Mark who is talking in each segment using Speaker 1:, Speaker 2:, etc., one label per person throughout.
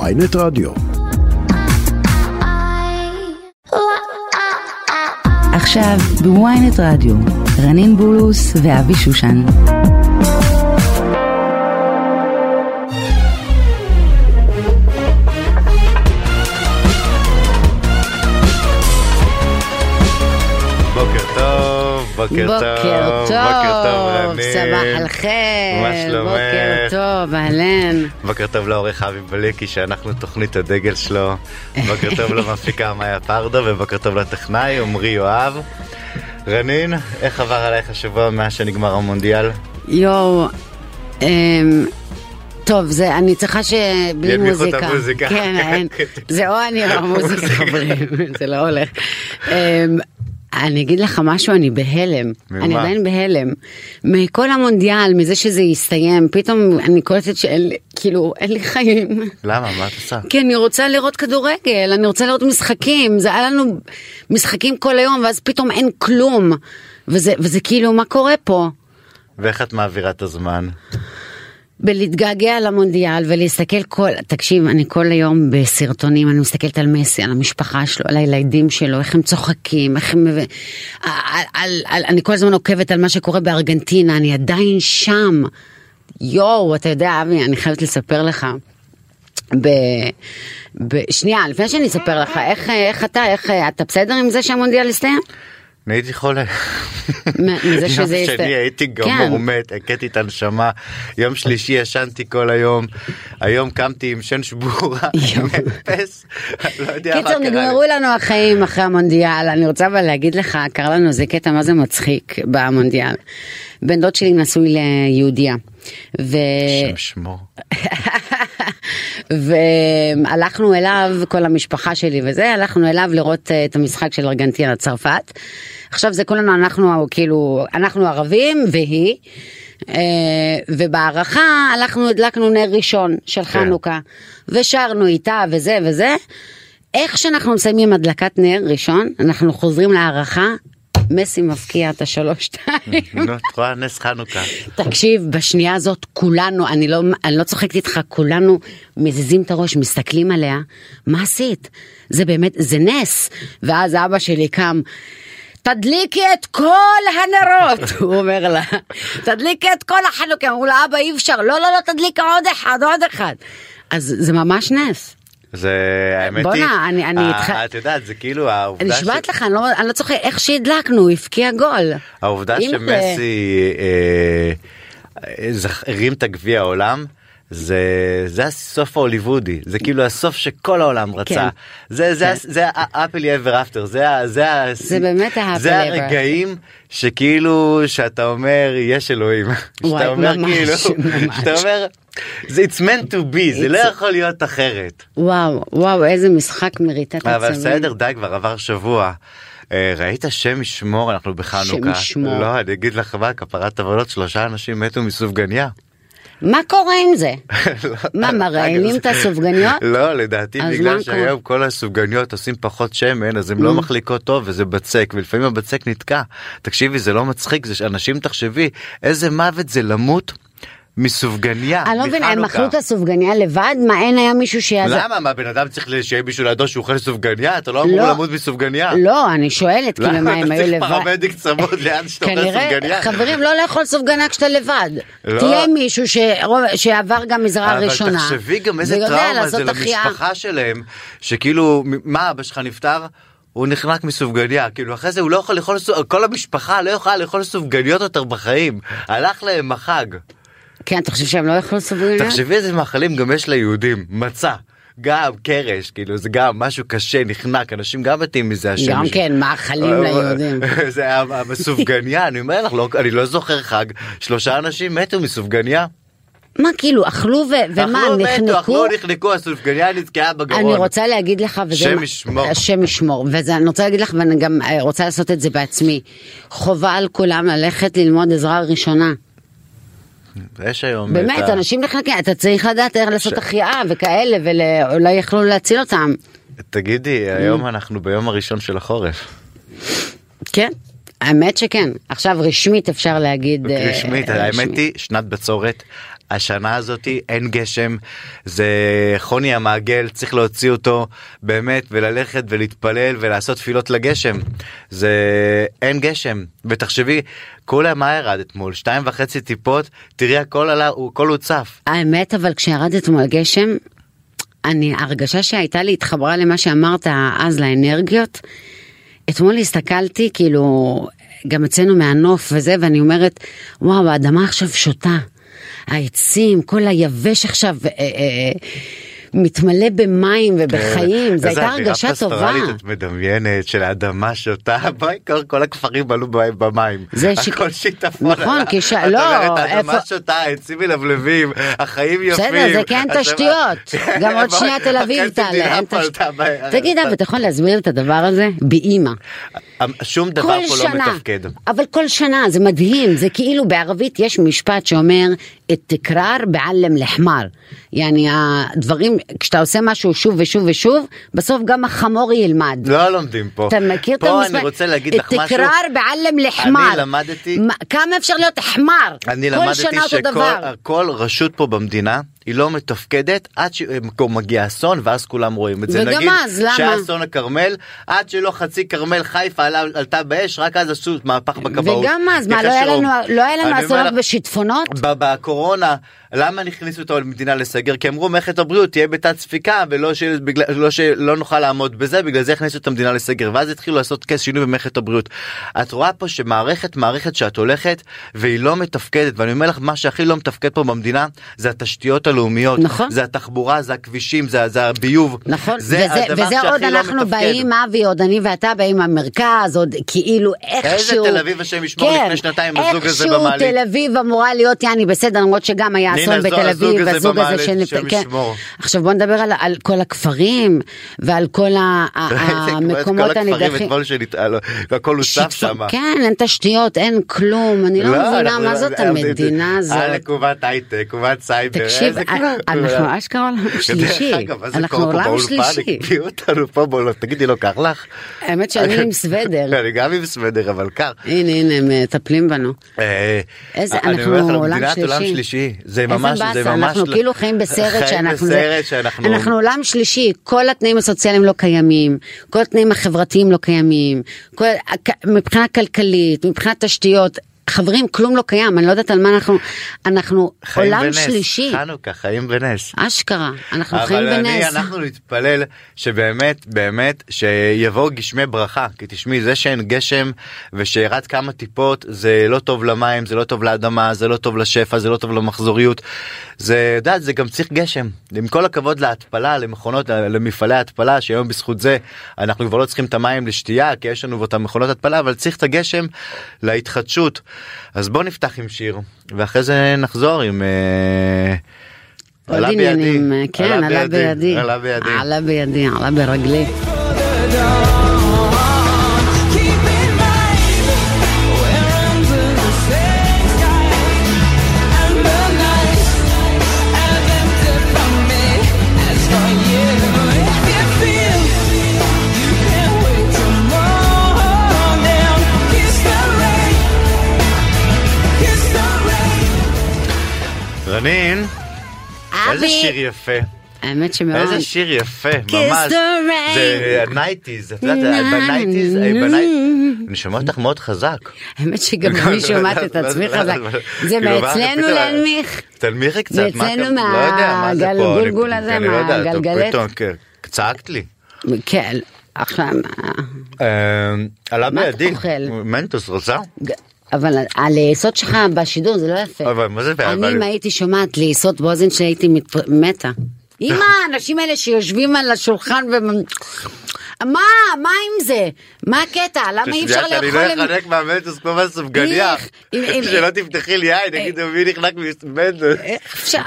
Speaker 1: ויינט רדיו.
Speaker 2: עכשיו בוויינט רדיו, רנין בולוס ואבי שושן.
Speaker 3: בוקר טוב, בוקר טוב,
Speaker 2: בוקר טוב,
Speaker 3: רנית.
Speaker 2: סבח על חן,
Speaker 3: מה שלומך?
Speaker 2: בוקר טוב, אהלן.
Speaker 3: בוקר טוב לעורך אבי בליקי שאנחנו תוכנית הדגל שלו, בוקר טוב למפיקה מאיה פרדו ובוקר טוב לטכנאי עמרי יואב. רנין, איך עבר עלייך השבוע מאז שנגמר המונדיאל?
Speaker 2: יואו, אמ, טוב, זה, אני צריכה שבלי
Speaker 3: ינמיכו את
Speaker 2: מוזיקה.
Speaker 3: המוזיקה. אוקיי.
Speaker 2: כן, אין, זה או אני או המוזיקה, חברים, זה לא הולך. אמ, אני אגיד לך משהו, אני בהלם.
Speaker 3: ממה?
Speaker 2: אני עדיין בהלם. מכל המונדיאל, מזה שזה יסתיים, פתאום אני קולטת שאין לי, כאילו, אין לי חיים.
Speaker 3: למה? מה את עושה?
Speaker 2: כי כן, אני רוצה לראות כדורגל, אני רוצה לראות משחקים, זה היה לנו משחקים כל היום, ואז פתאום אין כלום. וזה, וזה כאילו, מה קורה פה?
Speaker 3: ואיך את מעבירה את הזמן?
Speaker 2: בלהתגעגע למונדיאל ולהסתכל כל, תקשיב, אני כל היום בסרטונים, אני מסתכלת על מסי, על המשפחה שלו, על הילדים שלו, איך הם צוחקים, איך הם... על, על, על, אני כל הזמן עוקבת על מה שקורה בארגנטינה, אני עדיין שם. יואו, אתה יודע, אבי, אני חייבת לספר לך. ב... ב... שנייה, לפני שאני אספר לך, איך, איך אתה, איך אתה בסדר עם זה שהמונדיאל הסתיים?
Speaker 3: אני הייתי חולה.
Speaker 2: מזה שזה
Speaker 3: יום
Speaker 2: יסתיים.
Speaker 3: שני הייתי
Speaker 2: כן.
Speaker 3: גמור מת, הכיתי את הנשמה. יום שלישי ישנתי כל היום. היום קמתי עם שן שבורה.
Speaker 2: יואו.
Speaker 3: מפס. לא יודע מה
Speaker 2: קיצר
Speaker 3: קרה לי.
Speaker 2: נגמרו לנו החיים אחרי המונדיאל אני רוצה אבל להגיד לך קרה לנו איזה קטע מה זה מצחיק במונדיאל. בן דוד שלי נשוי ליהודייה. ו...
Speaker 3: שם שמו.
Speaker 2: והלכנו אליו כל המשפחה שלי וזה הלכנו אליו לראות אה, את המשחק של ארגנטינה צרפת. עכשיו זה כולנו אנחנו כאילו אנחנו ערבים והיא. אה, ובהערכה הלכנו הדלקנו נר ראשון של חנוכה ושרנו איתה וזה וזה. איך שאנחנו מסיימים הדלקת נר ראשון אנחנו חוזרים להערכה מסי מבקיע את השלוש שתיים.
Speaker 3: נו, לא את רואה נס חנוכה.
Speaker 2: תקשיב, בשנייה הזאת כולנו, אני לא, אני לא צוחקת איתך, כולנו מזיזים את הראש, מסתכלים עליה, מה עשית? זה באמת, זה נס. ואז אבא שלי קם. תדליקי את כל הנרות, הוא אומר לה, תדליקי את כל החנוכה, אמרו לה, אבא אי אפשר, לא, לא, לא, תדליקי עוד אחד, עוד אחד. אז זה ממש נס.
Speaker 3: זה האמת היא.
Speaker 2: בואנה, אני- אני
Speaker 3: אה,
Speaker 2: איתך.
Speaker 3: את יודעת, זה כאילו העובדה
Speaker 2: אני
Speaker 3: ש-
Speaker 2: נשבעת לך, אני לא, אני לא צוחקת, איך שהדלקנו, הוא הבקיע גול.
Speaker 3: העובדה
Speaker 2: אם זה-
Speaker 3: שמסי אה, אה, זכ- הרים את הגביע העולם. זה זה הסוף ההוליוודי זה כאילו הסוף שכל העולם רצה זה זה
Speaker 2: כן.
Speaker 3: זה האפלי אבר אפטר זה ה- זה ה-
Speaker 2: זה באמת ה-happily
Speaker 3: זה
Speaker 2: ever
Speaker 3: הרגעים שכאילו שאתה אומר יש אלוהים
Speaker 2: וואי,
Speaker 3: שאתה אומר
Speaker 2: ממש,
Speaker 3: כאילו
Speaker 2: ממש.
Speaker 3: שאתה אומר זה it's meant to be זה לא
Speaker 2: It's-
Speaker 3: יכול להיות אחרת
Speaker 2: וואו, וואו, איזה משחק מריטת עצמים.
Speaker 3: אבל בסדר די כבר עבר שבוע. אה, ראית שם ישמור אנחנו בחנוכה
Speaker 2: שם ישמור.
Speaker 3: לא אני אגיד לך מה כפרת עוולות שלושה אנשים מתו מסופגניה.
Speaker 2: מה קורה עם זה?
Speaker 3: לא,
Speaker 2: מה,
Speaker 3: אגב,
Speaker 2: מראיינים
Speaker 3: זה-
Speaker 2: את הסופגניות?
Speaker 3: לא לדעתי
Speaker 2: אז מה
Speaker 3: בגלל
Speaker 2: קורה? Mm.
Speaker 3: שהיום כל הסופגניות עושים פחות שמן אז הן לא מחליקות טוב וזה בצק ולפעמים הבצק נתקע תקשיבי זה לא מצחיק זה שאנשים תחשבי איזה מוות זה למות מסופגניה
Speaker 2: אני לא מבינה, הם
Speaker 3: מחנוכה.
Speaker 2: אכלו את הסופגניה לבד? מה, אין היה מישהו שיעזר?
Speaker 3: למה מה בן אדם צריך שיהיה מישהו לידו שהוא אוכל סופגניה אתה לא אמור
Speaker 2: לא.
Speaker 3: למות מסופגניה.
Speaker 2: לא, אני שואלת, כאילו, מה, הם היו
Speaker 3: למה אתה צריך
Speaker 2: לבד?
Speaker 3: פרמדיק צמוד ליד שאתה אוכל
Speaker 2: כנראה,
Speaker 3: סופגניה?
Speaker 2: חברים, לא לאכול סופגניה כשאתה לבד.
Speaker 3: לא.
Speaker 2: תהיה מישהו שרוב- שעבר גם עזרה
Speaker 3: אבל
Speaker 2: ראשונה.
Speaker 3: תחשבי גם איזה
Speaker 2: ויודע
Speaker 3: טראומה זה
Speaker 2: לעשות החייאה.
Speaker 3: למשפחה שלהם, שכאילו, מ- מה אבא שלך נפטר? הוא נחנק מסופגניה, כאילו אחרי זה הוא לא יכול לאכול, סופ- כל המשפחה לא יכולה לאכול סופגניות יותר בחיים, הלך להם החג.
Speaker 2: כן, אתה חושב שהם לא יאכלו סופגניה?
Speaker 3: תחשבי איזה מאכלים גם יש ליהודים, מצה, גם קרש, כאילו זה גם משהו קשה, נחנק, אנשים גם מתים מזה השם.
Speaker 2: גם
Speaker 3: ישמור.
Speaker 2: כן, מאכלים
Speaker 3: אה,
Speaker 2: ליהודים.
Speaker 3: זה היה מסופגניה, אני אומר לך, לא- אני לא זוכר חג, שלושה אנשים מתו מסופגניה.
Speaker 2: מה, כאילו, אכלו ו- ומה,
Speaker 3: אכלו, מתו,
Speaker 2: נחנקו?
Speaker 3: אכלו, נחנקו, הסופגניה נתקעה בגרון.
Speaker 2: אני רוצה להגיד לך, וזה
Speaker 3: השם
Speaker 2: מה-
Speaker 3: ישמור.
Speaker 2: השם ישמור, ואני רוצה להגיד לך, ואני גם אה, רוצה לעשות את זה בעצמי. חובה על כולם ללכת ללמוד עזרה ראשונה.
Speaker 3: יש היום...
Speaker 2: באמת,
Speaker 3: את ה-
Speaker 2: אנשים נחנקים, אתה צריך לדעת איך לעשות החייאה וכאלה, ואולי יכלו להציל אותם.
Speaker 3: תגידי,
Speaker 2: Mm.
Speaker 3: היום אנחנו ביום הראשון של החורף.
Speaker 2: כן. האמת שכן. עכשיו רשמית אפשר להגיד... אה,
Speaker 3: רשמית,
Speaker 2: אה,
Speaker 3: האמת היא, שנת בצורת. השנה הזאת אין גשם, זה חוני המעגל, צריך להוציא אותו באמת וללכת ולהתפלל ולעשות תפילות לגשם. זה אין גשם, ותחשבי, כולה מה ירד אתמול? שתיים וחצי טיפות, תראי הכל עלה, הוא- הכל הוצף.
Speaker 2: האמת אבל כשירד אתמול גשם, אני, ההרגשה שהייתה לי התחברה למה שאמרת אז לאנרגיות. אתמול הסתכלתי כאילו גם אצלנו מהנוף וזה ואני אומרת וואו האדמה עכשיו שותה. העצים כל היבש עכשיו אה, אה, מתמלא במים ובחיים זו הייתה הרגשה
Speaker 3: איזה
Speaker 2: טובה.
Speaker 3: אווירה כן. פסטורלית את מדמיינת של האדמה שותה, בעיקר כל הכפרים עלו ב- במים.
Speaker 2: זה שיק-
Speaker 3: הכל שיטפון.
Speaker 2: נכון,
Speaker 3: עלה.
Speaker 2: כי ש-
Speaker 3: את
Speaker 2: לא,
Speaker 3: אומרת, האדמה
Speaker 2: איפה-
Speaker 3: שותה, העצים מלבלבים, החיים יפים.
Speaker 2: בסדר, זה כן
Speaker 3: הצבא-
Speaker 2: תשתיות.
Speaker 3: כן,
Speaker 2: גם עוד שנייה תל אביב
Speaker 3: החצי
Speaker 2: תעלה.
Speaker 3: מדינה
Speaker 2: אין תש-
Speaker 3: פלטה ב-
Speaker 2: תגיד, אבל אתה יכול להסביר את הדבר הזה? באימא.
Speaker 3: אמ, שום דבר
Speaker 2: כל
Speaker 3: פה לא
Speaker 2: שנה,
Speaker 3: מתפקד.
Speaker 2: אבל כל שנה זה מדהים, זה כאילו בערבית יש משפט שאומר את תקרר בעלם לחמר. יעני הדברים, כשאתה עושה משהו שוב ושוב ושוב, בסוף גם החמור ילמד.
Speaker 3: לא לומדים פה.
Speaker 2: אתה מכיר את
Speaker 3: פה
Speaker 2: המספר?
Speaker 3: אני רוצה להגיד לך משהו.
Speaker 2: תקרר בעלם לחמר.
Speaker 3: אני למדתי-
Speaker 2: מה- כמה אפשר להיות חמר?
Speaker 3: אני
Speaker 2: כל
Speaker 3: למדתי
Speaker 2: שנה אותו דבר.
Speaker 3: שכל רשות פה במדינה היא לא מתפקדת עד שמגיע אסון ואז כולם רואים את זה.
Speaker 2: וגם
Speaker 3: נגיד
Speaker 2: אז, למה?
Speaker 3: שהיה אסון הכרמל, עד שלא חצי כרמל חיפה עלה- עלתה באש, רק אז עשו מהפך בכבאות.
Speaker 2: וגם אז, מה,
Speaker 3: יחי
Speaker 2: לא היה
Speaker 3: שרון.
Speaker 2: לנו- לא היה לנו
Speaker 3: אני אומר
Speaker 2: אסונות
Speaker 3: לך,
Speaker 2: בשיטפונות?
Speaker 3: ב- בקורונה למה נכניסו אותו למדינה לסגר כי אמרו מערכת הבריאות תהיה בתת ספיקה ולא של- בגלל- לא שלא נוכל לעמוד בזה בגלל זה הכניסו את המדינה לסגר ואז התחילו לעשות כס שינוי במערכת הבריאות. את רואה פה שמערכת מערכת שאת הולכת והיא לא מתפקדת ואני אומר לך מה שהכי לא מתפקד פה במדינה זה התשתיות הלאומיות
Speaker 2: נכון.
Speaker 3: זה התחבורה זה הכבישים זה, זה הביוב
Speaker 2: נכון, וזה,
Speaker 3: הדבר
Speaker 2: וזה
Speaker 3: שהכי
Speaker 2: עוד
Speaker 3: לא
Speaker 2: אנחנו
Speaker 3: מתפקד.
Speaker 2: באים, אבי, עוד אני ואתה באים מהמרכז, עוד כאילו איכשהו... כן,
Speaker 3: תל אביב, השם ישמור, לפני שנתיים הזוג הזה במעלית.
Speaker 2: איכשהו תל אביב אמורה להיות, יעני, בסדר, למרות שגם היה
Speaker 3: נינה,
Speaker 2: אסון
Speaker 3: זו-
Speaker 2: בתל
Speaker 3: הזוג
Speaker 2: אביב,
Speaker 3: הזה
Speaker 2: הזוג
Speaker 3: במעלית,
Speaker 2: הזה של... כן.
Speaker 3: השם ישמור.
Speaker 2: עכשיו בוא נדבר על, על כל הכפרים ועל כל ה- ה- המקומות
Speaker 3: כל הכפרים
Speaker 2: הנידחים.
Speaker 3: אתמול שנתעלו, הכל הוצף
Speaker 2: שיטפו-
Speaker 3: שם.
Speaker 2: כן, אין תשתיות, אין כלום, אני לא מבינה
Speaker 3: אנחנו-
Speaker 2: מה זאת
Speaker 3: אנחנו-
Speaker 2: המדינה
Speaker 3: אה,
Speaker 2: הזאת.
Speaker 3: לקובת הייטק, קובת סייבר.
Speaker 2: תקשיב,
Speaker 3: איזה
Speaker 2: אה,
Speaker 3: כלום.
Speaker 2: אנחנו אשכרה עולם שלישי,
Speaker 3: דרך אגב, אז זה
Speaker 2: אנחנו
Speaker 3: קורה פה
Speaker 2: עולם
Speaker 3: באולפן,
Speaker 2: שלישי.
Speaker 3: הקפיאו אותנו פה בעולם, תגידי לא קר לך?
Speaker 2: האמת שאני עם סוודר.
Speaker 3: אני גם עם סוודר אבל קר.
Speaker 2: הנה, הנה, הם מטפלים בנו.
Speaker 3: אה,
Speaker 2: איזה-
Speaker 3: אני
Speaker 2: אנחנו
Speaker 3: אומר לך,
Speaker 2: עולם
Speaker 3: מדינת עולם
Speaker 2: שלישי.
Speaker 3: שלישי. זה
Speaker 2: איזה
Speaker 3: ממש, זה
Speaker 2: באסה,
Speaker 3: ממש...
Speaker 2: אנחנו
Speaker 3: לא-
Speaker 2: כאילו חיים בסרט שאנחנו... זה-
Speaker 3: חיים בסרט שאנחנו...
Speaker 2: אנחנו עולם שלישי, כל התנאים הסוציאליים לא קיימים, כל התנאים החברתיים לא קיימים, כל... הכ- מבחינה כלכלית, מבחינת תשתיות. חברים, כלום לא קיים, אני לא יודעת על מה אנחנו... אנחנו
Speaker 3: חיים
Speaker 2: עולם
Speaker 3: בנס,
Speaker 2: שלישי,
Speaker 3: חנוכה, חיים בנס.
Speaker 2: אשכרה, אנחנו חיים
Speaker 3: אבל אני,
Speaker 2: בנס.
Speaker 3: אנחנו נתפלל שבאמת באמת שיבואו גשמי ברכה כי תשמעי זה שאין גשם ושירד כמה טיפות זה לא טוב למים זה לא טוב לאדמה זה לא טוב לשפע זה לא טוב למחזוריות זה יודעת זה גם צריך גשם עם כל הכבוד להתפלה למכונות למפעלי ההתפלה שהיום בזכות זה אנחנו כבר לא צריכים את המים לשתייה כי יש לנו כבר את המכונות התפלה אבל צריך את הגשם להתחדשות אז בוא נפתח עם שיר ואחרי זה נחזור עם. אה,
Speaker 2: עוד
Speaker 3: עלה
Speaker 2: עניינים,
Speaker 3: בידי,
Speaker 2: כן, עלה בידי,
Speaker 3: עלה בידי.
Speaker 2: עלה בידי, עלה ברגלי.
Speaker 1: Keep in mind we're under the same sky, and the nights have empty from me. As for you, if you feel you can't wait till morning, kiss the rain, kiss the rain.
Speaker 3: רנין, איזה שיר
Speaker 2: אבי,
Speaker 3: יפה.
Speaker 2: האמת שמאוד.
Speaker 3: איזה שיר יפה,
Speaker 2: Kiss the
Speaker 3: ממש.
Speaker 2: rain.
Speaker 3: זה נייטיז, את יודעת, אה,
Speaker 2: נה,
Speaker 3: בנייטיז,
Speaker 2: נה, נה.
Speaker 3: אני שומע אותך מאוד חזק.
Speaker 2: האמת שגם
Speaker 3: לא,
Speaker 2: אני שומעת את עצמי חזק. זה
Speaker 3: כאילו, מה,
Speaker 2: מאצלנו
Speaker 3: פתאום-
Speaker 2: להנמיך.
Speaker 3: תנמיכי קצת, מה
Speaker 2: מאצלנו
Speaker 3: אתם- לא יודע, מה זה פה, אני-
Speaker 2: מהגלגול הזה,
Speaker 3: אני לא יודע, אתה
Speaker 2: מהגלגלת.
Speaker 3: פתאום, כן, צעקת לי.
Speaker 2: כן, עכשיו,
Speaker 3: אה, עלה
Speaker 2: מה אתה
Speaker 3: בידי,
Speaker 2: אוכל?
Speaker 3: מנטוס רוצה?
Speaker 2: אבל הלעיסות שלך בשידור זה לא יפה.
Speaker 3: אבל מה זה,
Speaker 2: אני,
Speaker 3: אבל-
Speaker 2: אם הייתי שומעת לעיסות באוזן שלי, הייתי מת- מתה. אמא, האנשים האלה שיושבים על השולחן ו... מה, מה עם זה? מה הקטע? למה אי אפשר
Speaker 3: ששנייה,
Speaker 2: לאכול...
Speaker 3: אני לא
Speaker 2: עם-
Speaker 3: אחנק מהמנטוס כמו מהסופגניה.
Speaker 2: איך? אם- אם- אה,
Speaker 3: שלא תפתחי לי עין, יגידו מי נחנק ממנטוס.
Speaker 2: איך אפשר,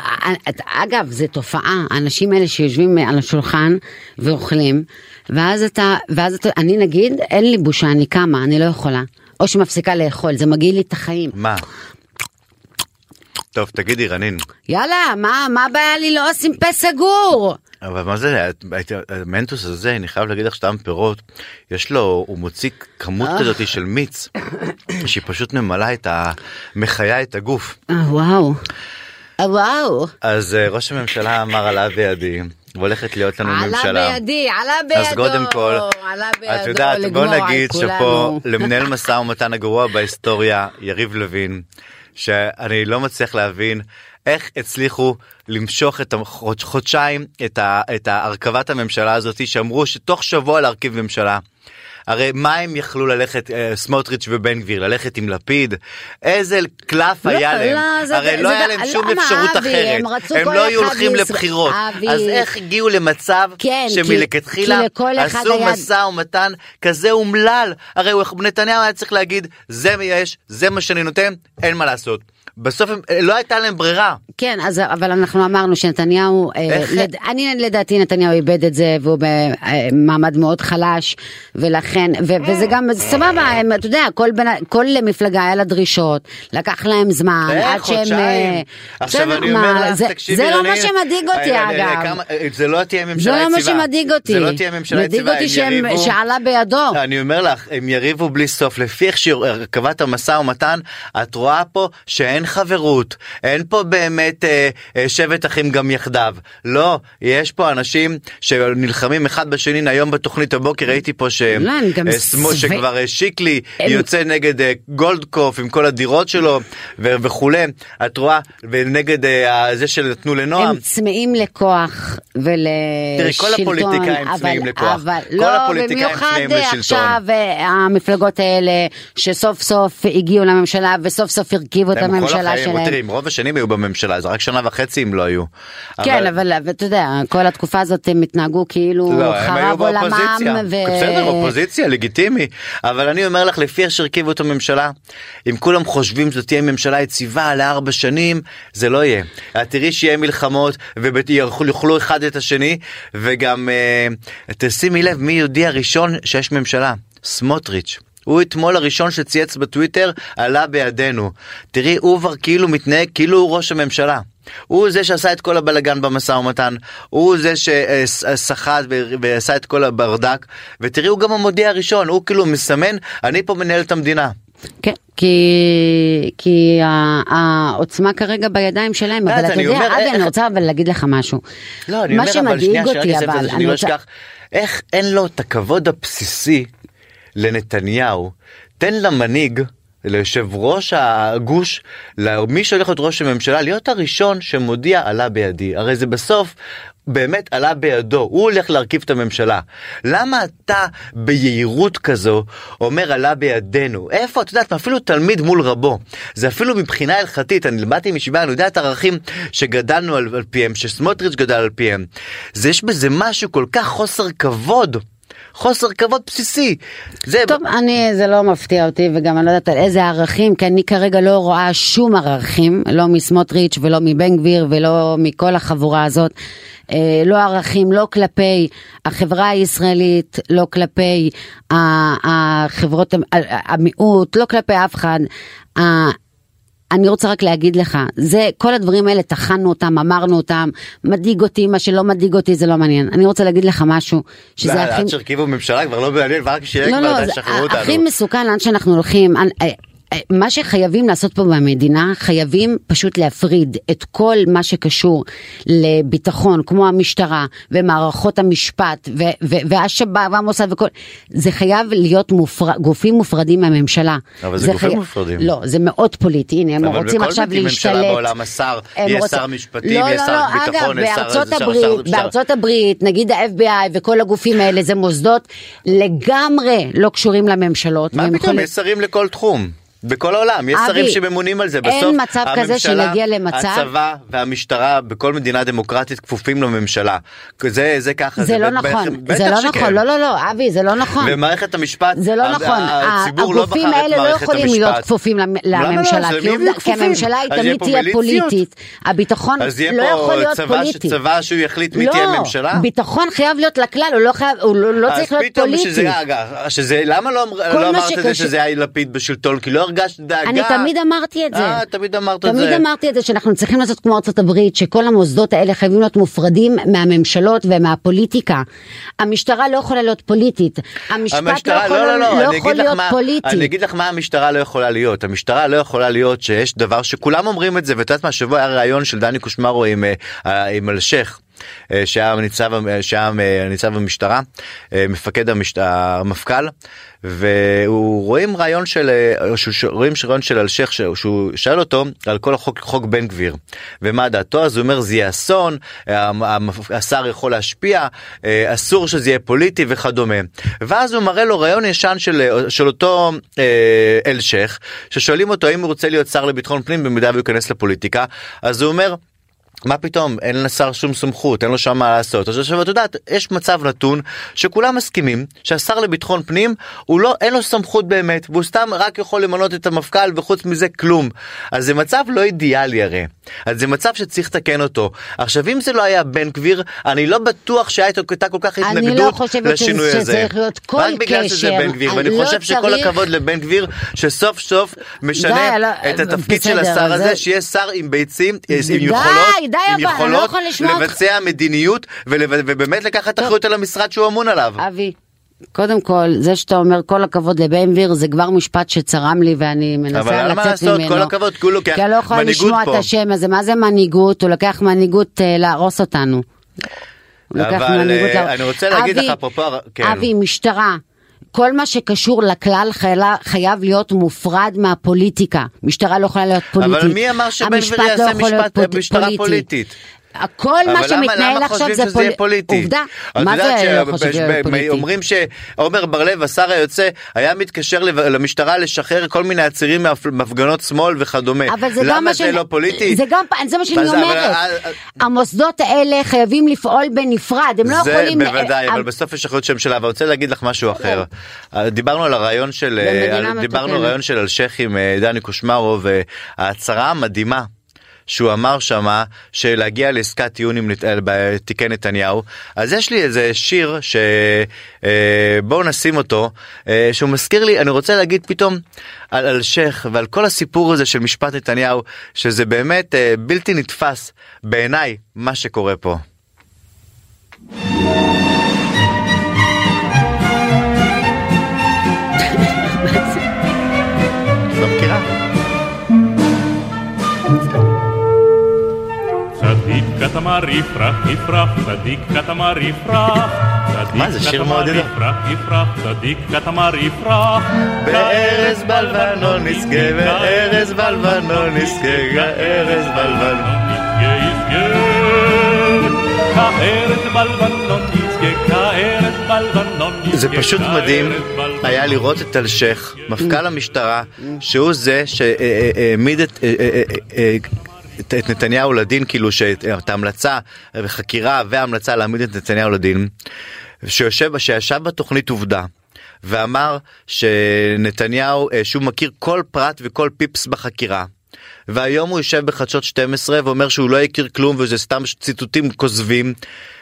Speaker 2: אגב, זו תופעה, האנשים האלה שיושבים על השולחן ואוכלים, ואז אתה, ואז אתה, אני נגיד, אין לי בושה, אני קמה, אני לא יכולה. או שמפסיקה לאכול, זה מגעיל לי את החיים.
Speaker 3: מה? טוב תגידי רנין
Speaker 2: יאללה, מה, מה הבעיה לי לא עושים פה סגור?
Speaker 3: אבל מה זה את- את- המנטוס הזה אני חייב להגיד לך שטעם פירות יש לו הוא מוציא כמות
Speaker 2: אה.
Speaker 3: כזאת של מיץ שהיא פשוט ממלאה את ה... מחיה את הגוף
Speaker 2: אה, וואו, אה, וואו.
Speaker 3: אז אה, ראש הממשלה אמר עלה בידי, והולכת להיות לנו
Speaker 2: עלה
Speaker 3: ממשלה.
Speaker 2: בידי, עלה בידו.
Speaker 3: כן, אז קודם כל,
Speaker 2: עלה בידו,
Speaker 3: את יודעת, בוא
Speaker 2: לגמור על
Speaker 3: נגיד שאפו
Speaker 2: כולנו.
Speaker 3: למנהל משא ומתן הגרוע בהיסטוריה, יריב לוין, שאני לא מצליח להבין איך הצליחו למשוך את החודש- חודשיים את, ה, את הרכבת הממשלה הזאת, שאמרו שתוך שבוע להרכיב ממשלה. הרי מה הם יכלו ללכת, אה, סמוטריץ' ובן גביר, ללכת עם לפיד? איזה קלף
Speaker 2: לא,
Speaker 3: היה להם?
Speaker 2: לא, זה-
Speaker 3: הרי
Speaker 2: זה
Speaker 3: לא היה
Speaker 2: גם-
Speaker 3: להם שום
Speaker 2: למה,
Speaker 3: אפשרות
Speaker 2: אבי?
Speaker 3: אחרת.
Speaker 2: הם רצו
Speaker 3: הם
Speaker 2: כל
Speaker 3: לא היו
Speaker 2: אחד
Speaker 3: הולכים
Speaker 2: בישראל-
Speaker 3: לבחירות.
Speaker 2: אבי.
Speaker 3: אז איך הגיעו למצב
Speaker 2: כן, כי-
Speaker 3: שמלכתחילה
Speaker 2: כי לכל אחד
Speaker 3: עשו
Speaker 2: היה-
Speaker 3: משא ומתן כזה אומלל. הרי הוא- נתניהו היה צריך להגיד, זה מה יש, זה מה שאני נותן, אין מה לעשות. בסוף הם- לא הייתה להם ברירה.
Speaker 2: כן, אז, אבל אנחנו אמרנו שנתניהו, אה,
Speaker 3: איך-
Speaker 2: לד, אני לדעתי נתניהו איבד את זה והוא במעמד מאוד חלש ולכן, ו, וזה גם אז סבבה, הם, אתה יודע, כל, בנ, כל מפלגה היה לה דרישות, לקח להם זמן,
Speaker 3: איך,
Speaker 2: עד שהם,
Speaker 3: חודשיים?
Speaker 2: אה,
Speaker 3: עכשיו
Speaker 2: בסדר,
Speaker 3: אני
Speaker 2: מה,
Speaker 3: אומר לך,
Speaker 2: זה,
Speaker 3: תקשיבי,
Speaker 2: זה לא מה
Speaker 3: רונית,
Speaker 2: שמדאיג אותי
Speaker 3: אה, אה, אה,
Speaker 2: אגב.
Speaker 3: כמה- אה, זה לא תהיה ממשלה
Speaker 2: זה
Speaker 3: יציבה.
Speaker 2: לא מה שמדאיג אותי.
Speaker 3: זה לא תהיה ממשלה יציבה.
Speaker 2: מדאיג אותי
Speaker 3: הם
Speaker 2: שהם-
Speaker 3: יריבו-
Speaker 2: שעלה בידו.
Speaker 3: אני אומר לך, הם יריבו בלי סוף. לפי איך שהרכבת המשא ומתן, את רואה פה שאין חברות. אין פה באמת אה, אה, שבט אחים גם יחדיו. לא, יש פה אנשים שנלחמים אחד בשני. היום בתוכנית הבוקר ראיתי פה ש...
Speaker 2: לא, הם גם
Speaker 3: אה, סמו-
Speaker 2: שבע-
Speaker 3: שכבר אה, שיקלי
Speaker 2: הם-
Speaker 3: יוצא נגד אה, גולדקוף עם כל הדירות שלו ו- וכולי. את רואה, ונגד אה, זה שנתנו לנועם.
Speaker 2: הם צמאים לכוח ולשלטון,
Speaker 3: תראי, כל הפוליטיקאים
Speaker 2: אבל-
Speaker 3: צמאים לכוח.
Speaker 2: אבל
Speaker 3: כל
Speaker 2: לא,
Speaker 3: הפוליטיקאים
Speaker 2: במיוחד
Speaker 3: צמאים לשלטון.
Speaker 2: עכשיו אה, המפלגות האלה שסוף סוף הגיעו לממשלה וסוף סוף הרכיבו את
Speaker 3: הם כל
Speaker 2: הממשלה
Speaker 3: החיים,
Speaker 2: שלהם.
Speaker 3: תראי, הם רוב השנים היו בממשלה, זה רק שנה וחצי הם לא היו.
Speaker 2: כן, אבל אבל אתה יודע, כל התקופה הזאת הם התנהגו כאילו
Speaker 3: לא, הם היו
Speaker 2: חרב עולמם.
Speaker 3: באופוזיציה,
Speaker 2: ו-
Speaker 3: בסדר, אופוזיציה, לגיטימי, אבל אני אומר לך, לפי איך שהרכיבו את הממשלה, אם כולם חושבים שזו תהיה ממשלה יציבה לארבע שנים, זה לא יהיה. את תראי שיהיה מלחמות, ויאכלו אחד את השני, וגם אה, תשימי לב מי יודיע ראשון שיש ממשלה, סמוטריץ'. הוא אתמול הראשון שצייץ בטוויטר, עלה בידינו. תראי, הוא כבר כאילו מתנהג, כאילו הוא ראש הממשלה. הוא זה שעשה את כל הבלגן במשא ומתן, הוא זה שסחט ועשה את כל הברדק, ותראי, הוא גם המודיע הראשון, הוא כאילו מסמן, אני פה מנהל את המדינה.
Speaker 2: כן, כי, כי ה- העוצמה כרגע בידיים שלהם,
Speaker 3: ואז
Speaker 2: אבל אתה
Speaker 3: לא, אני
Speaker 2: יודע,
Speaker 3: אומר,
Speaker 2: אבי,
Speaker 3: איך-
Speaker 2: אני רוצה אבל להגיד לך משהו.
Speaker 3: לא, אני
Speaker 2: מה
Speaker 3: אומר, אבל
Speaker 2: שמדאיג
Speaker 3: שנייה, שרק
Speaker 2: אותי,
Speaker 3: אסיים את
Speaker 2: אבל
Speaker 3: זה, שאני
Speaker 2: אני
Speaker 3: לא
Speaker 2: רוצה-
Speaker 3: אשכח, איך אין לו את הכבוד הבסיסי לנתניהו, תן למנהיג, ליושב ראש הגוש, למי שהולך להיות ראש הממשלה, להיות הראשון שמודיע עלה בידי, הרי זה בסוף. באמת עלה בידו, הוא הולך להרכיב את הממשלה. למה אתה ביהירות כזו אומר עלה בידינו? איפה, את יודעת, אפילו תלמיד מול רבו. זה אפילו מבחינה הלכתית, אני באתי מישיבה, אני יודע את הערכים שגדלנו על, על פיהם, שסמוטריץ' גדל על פיהם. זה יש בזה משהו כל כך חוסר כבוד. חוסר כבוד בסיסי. זה...
Speaker 2: טוב, אני, זה לא מפתיע אותי, וגם אני לא יודעת על איזה ערכים, כי אני כרגע לא רואה שום ערכים, לא מסמוטריץ' ולא מבן גביר ולא מכל החבורה הזאת. אה, לא ערכים, לא כלפי החברה הישראלית, לא כלפי ה- החברות, המ- ה- ה- המיעוט, לא כלפי אף אחד. ה- אני רוצה רק להגיד לך, זה, כל הדברים האלה טחנו אותם, אמרנו אותם, מדאיג אותי, מה שלא מדאיג אותי זה לא מעניין. אני רוצה להגיד לך משהו, שזה
Speaker 3: לא,
Speaker 2: הכי...
Speaker 3: עד שהרכיבו ממשלה כבר לא מעניין, ורק שיהיה
Speaker 2: לא,
Speaker 3: כבר,
Speaker 2: לא,
Speaker 3: די,
Speaker 2: זה
Speaker 3: שחררו אותנו.
Speaker 2: הכי מסוכן לאן שאנחנו הולכים. אנ- אה, אה, מה שחייבים לעשות פה במדינה, חייבים פשוט להפריד את כל מה שקשור לביטחון, כמו המשטרה ומערכות המשפט ו- ו- והשב"כ והמוסד וכל, זה חייב להיות מופר... גופים מופרדים מהממשלה.
Speaker 3: אבל זה גופים מופרדים.
Speaker 2: לא, זה מאוד פוליטי, הנה, הם
Speaker 3: אבל
Speaker 2: רוצים
Speaker 3: בכל
Speaker 2: עכשיו
Speaker 3: מדינה
Speaker 2: להשתלט.
Speaker 3: ממשלה בעולם, השר,
Speaker 2: הם
Speaker 3: יהיה
Speaker 2: רוצים-
Speaker 3: שר משפטים, יהיה שר ביטחון, יהיה שר-
Speaker 2: לא, אגב, בארצות
Speaker 3: שר- שר-
Speaker 2: הברית,
Speaker 3: שר-
Speaker 2: בארצות הברית, נגיד ה-FBI וכל הגופים האלה, זה מוסדות לגמרי לא קשורים לממשלות.
Speaker 3: מה
Speaker 2: והם
Speaker 3: פתאום,
Speaker 2: יכולים-
Speaker 3: יש שרים לכל תחום. בכל העולם, יש
Speaker 2: אבי,
Speaker 3: שרים שממונים על זה.
Speaker 2: אין
Speaker 3: בסוף,
Speaker 2: מצב כזה
Speaker 3: הממשלה,
Speaker 2: שנגיע למצב-
Speaker 3: הצבא והמשטרה בכל מדינה דמוקרטית כפופים לממשלה. זה, זה ככה.
Speaker 2: זה לא
Speaker 3: בטח-
Speaker 2: נכון,
Speaker 3: בטח
Speaker 2: זה לא
Speaker 3: שכן.
Speaker 2: נכון, לא לא לא, אבי, זה לא נכון.
Speaker 3: ומערכת המשפט,
Speaker 2: זה לא
Speaker 3: ה-
Speaker 2: נכון,
Speaker 3: הציבור לא בחר את
Speaker 2: הגופים האלה לא
Speaker 3: מערכת
Speaker 2: יכולים
Speaker 3: המשפט.
Speaker 2: להיות כפופים למ-
Speaker 3: למה לא?
Speaker 2: לממשלה,
Speaker 3: אז
Speaker 2: כי
Speaker 3: למי הם
Speaker 2: עובדה-
Speaker 3: יהיו
Speaker 2: כי
Speaker 3: כפופים?
Speaker 2: הממשלה היא
Speaker 3: אז יהיה
Speaker 2: תמיד
Speaker 3: פה
Speaker 2: תהיה
Speaker 3: מיליציות.
Speaker 2: פוליטית, הביטחון
Speaker 3: אז יהיה
Speaker 2: לא
Speaker 3: פה
Speaker 2: יכול להיות
Speaker 3: צבא ש-
Speaker 2: פוליטי.
Speaker 3: צבא שהוא יחליט מי
Speaker 2: לא,
Speaker 3: תהיה ממשלה?
Speaker 2: ביטחון חייב להיות לכלל, הוא לא חייב- הוא לא לא צריך להיות
Speaker 3: אז פתאום
Speaker 2: פוליטי.
Speaker 3: שזה, אגב, שזה, למה לא, אמר-
Speaker 2: כל
Speaker 3: לא
Speaker 2: מה
Speaker 3: אמרת את זה
Speaker 2: שקשור-
Speaker 3: שזה היה לפיד בשלטון? כי לא הרגשת דאגה.
Speaker 2: אני תמיד אמרתי את זה.
Speaker 3: אה, תמיד אמרת את זה.
Speaker 2: תמיד אמרתי את זה שאנחנו צריכים לעשות כמו ארצות הברית, שכל המוסדות האלה חייבים להיות מופרדים מהממשלות ומהפוליטיקה. המשטרה לא יכולה להיות פוליטית. המשפט לא
Speaker 3: המשטרה,
Speaker 2: יכול,
Speaker 3: לא, לא, לא,
Speaker 2: יכול
Speaker 3: אני אגיד לך
Speaker 2: להיות
Speaker 3: מה-
Speaker 2: פוליטי.
Speaker 3: אני אגיד לך מה המשטרה לא יכולה להיות. המשטרה לא יכולה להיות שיש דבר שכולם אומרים את זה, ואת יודעת מה, השבוע היה ראיון של דני קושמרו עם, אה, אה, עם אלשיך. אה, שהיה ניצב, אה, שהיה אה, ניצב במשטרה, אה, מפקד המשט... המפכ"ל, והוא רואים רעיון של, אה, שהוא- שהוא- רואים רעיון של אלשיך שהוא- שהוא שאל אותו על כל החוק חוק בן גביר ומה דעתו אז הוא אומר זה יהיה אסון, אה, המ- המפ- השר יכול להשפיע, אה, אסור שזה יהיה פוליטי וכדומה. ואז הוא מראה לו רעיון ישן של, אה, של אותו אה, אלשיך ששואלים אותו האם הוא רוצה להיות שר לביטחון פנים במידה והוא ייכנס לפוליטיקה אז הוא אומר. מה פתאום אין לשר שום סמכות אין לו שם מה לעשות אז עכשיו את יודעת יש מצב נתון שכולם מסכימים שהשר לביטחון פנים הוא לא אין לו סמכות באמת והוא סתם רק יכול למנות את המפכ"ל וחוץ מזה כלום אז זה מצב לא אידיאלי הרי אז זה מצב שצריך לתקן אותו עכשיו אם זה לא היה בן גביר אני לא בטוח שהייתה כל כך
Speaker 2: אני לא
Speaker 3: התנגדות
Speaker 2: חושבת שזה-
Speaker 3: לשינוי הזה
Speaker 2: שצריך להיות כל
Speaker 3: רק בגלל שזה
Speaker 2: קשר.
Speaker 3: בן גביר
Speaker 2: אני
Speaker 3: ואני
Speaker 2: לא
Speaker 3: חושב שכל
Speaker 2: צריך-
Speaker 3: הכבוד לבן גביר שסוף סוף משנה
Speaker 2: די, לא-
Speaker 3: את התפקיד של
Speaker 2: בסדר,
Speaker 3: השר הזה
Speaker 2: זה-
Speaker 3: שיהיה שר עם ביצים עם
Speaker 2: די,
Speaker 3: יכולות,
Speaker 2: די, אבל, אני
Speaker 3: עם
Speaker 2: לא
Speaker 3: יכולות
Speaker 2: יכולה לשמוע אותך.
Speaker 3: לבצע מדיניות ולב- ובאמת לקחת אחריות על המשרד שהוא אמון עליו.
Speaker 2: אבי, קודם כל, זה שאתה אומר כל הכבוד לבן גביר, זה כבר משפט שצרם לי ואני מנסה לצאת
Speaker 3: אבל
Speaker 2: ממנו.
Speaker 3: אין מה לעשות, כל הכבוד, כולו
Speaker 2: כי
Speaker 3: כ-
Speaker 2: אני לא יכולה
Speaker 3: מנהיגות
Speaker 2: לשמוע
Speaker 3: פה.
Speaker 2: את השם הזה, מה זה מנהיגות? הוא לוקח מנהיגות אה, להרוס אותנו. הוא לוקח
Speaker 3: אבל,
Speaker 2: מנהיגות
Speaker 3: אה,
Speaker 2: להרוס-
Speaker 3: אני רוצה להגיד
Speaker 2: אבי,
Speaker 3: לך, אפרופו הר- כן.
Speaker 2: אבי, משטרה. כל מה שקשור לכלל חיילה- חייב להיות מופרד מהפוליטיקה. משטרה לא יכולה להיות פוליטית.
Speaker 3: אבל מי אמר שבן
Speaker 2: המשפט
Speaker 3: גביר
Speaker 2: לא
Speaker 3: יעשה
Speaker 2: יכול להיות
Speaker 3: משפט- אה,
Speaker 2: פוט-
Speaker 3: משטרה פוליטית?
Speaker 2: כל מה
Speaker 3: אבל למה-
Speaker 2: שמתנהל
Speaker 3: למה
Speaker 2: עכשיו
Speaker 3: חושבים
Speaker 2: זה
Speaker 3: שזה יהיה
Speaker 2: פול-
Speaker 3: פוליטי?
Speaker 2: עובדה.
Speaker 3: את
Speaker 2: מה זה
Speaker 3: יודעת ש-
Speaker 2: לא חושב
Speaker 3: בש-
Speaker 2: שזה
Speaker 3: ב-
Speaker 2: פוליטי?
Speaker 3: אומרים שעמר בר לב השר היוצא היה מתקשר לב- למשטרה לשחרר כל מיני עצירים מהפ- מהפגנות שמאל וכדומה.
Speaker 2: אבל זה גם
Speaker 3: למה
Speaker 2: מה
Speaker 3: זה לא פוליטי?
Speaker 2: זה גם, פ- זה מה שאני
Speaker 3: אז- אבל-
Speaker 2: אומרת.
Speaker 3: אה, אה,
Speaker 2: המוסדות האלה חייבים לפעול בנפרד, הם לא
Speaker 3: זה
Speaker 2: יכולים...
Speaker 3: בוודאי,
Speaker 2: אה, כן.
Speaker 3: אבל בסוף יש אחריות שם שלה, אבל אני רוצה להגיד לך משהו אחר. אה, דיברנו על הרעיון של, אה,
Speaker 2: במדינה
Speaker 3: על-
Speaker 2: מתוקנת.
Speaker 3: דיברנו על הרעיון של אלשיך עם אה, דני קושמרו וההצהרה המדהימה. שהוא אמר שמה שלהגיע לעסקת טיעון עם נת- אה, בתיקי נתניהו אז יש לי איזה שיר שבואו נשים אותו אה, שהוא מזכיר לי אני רוצה להגיד פתאום על אלשיך ועל כל הסיפור הזה של משפט נתניהו שזה באמת אה, בלתי נתפס בעיניי מה שקורה פה. לא מכירה.
Speaker 4: צדיק קטמר יפרח יפרח, צדיק קטמר יפרח. צדיק
Speaker 3: מה, זה שיר
Speaker 4: קטמר
Speaker 3: מעודד.
Speaker 4: יפרח יפרח, צדיק קטמר יפרח.
Speaker 3: בארז בלבנון נזכה, בארז בלבנון נזכה, בארז בלבנון.
Speaker 4: יזכה, יזכה. כארז בלבנון יזכה, כארז בלבנון יזכה.
Speaker 3: זה פשוט
Speaker 4: כארז
Speaker 3: מדהים
Speaker 4: בלבנון
Speaker 3: היה לראות את אלשיך, מפכ"ל המשטרה, שהוא זה שהעמיד את... אה, אה, אה, אה, את את נתניהו לדין כאילו שאת את ההמלצה וחקירה וההמלצה להעמיד את נתניהו לדין שיושב שישב בתוכנית עובדה ואמר שנתניהו אה, שהוא מכיר כל פרט וכל פיפס בחקירה והיום הוא יושב בחדשות 12 ואומר שהוא לא הכיר כלום וזה סתם ציטוטים כוזבים.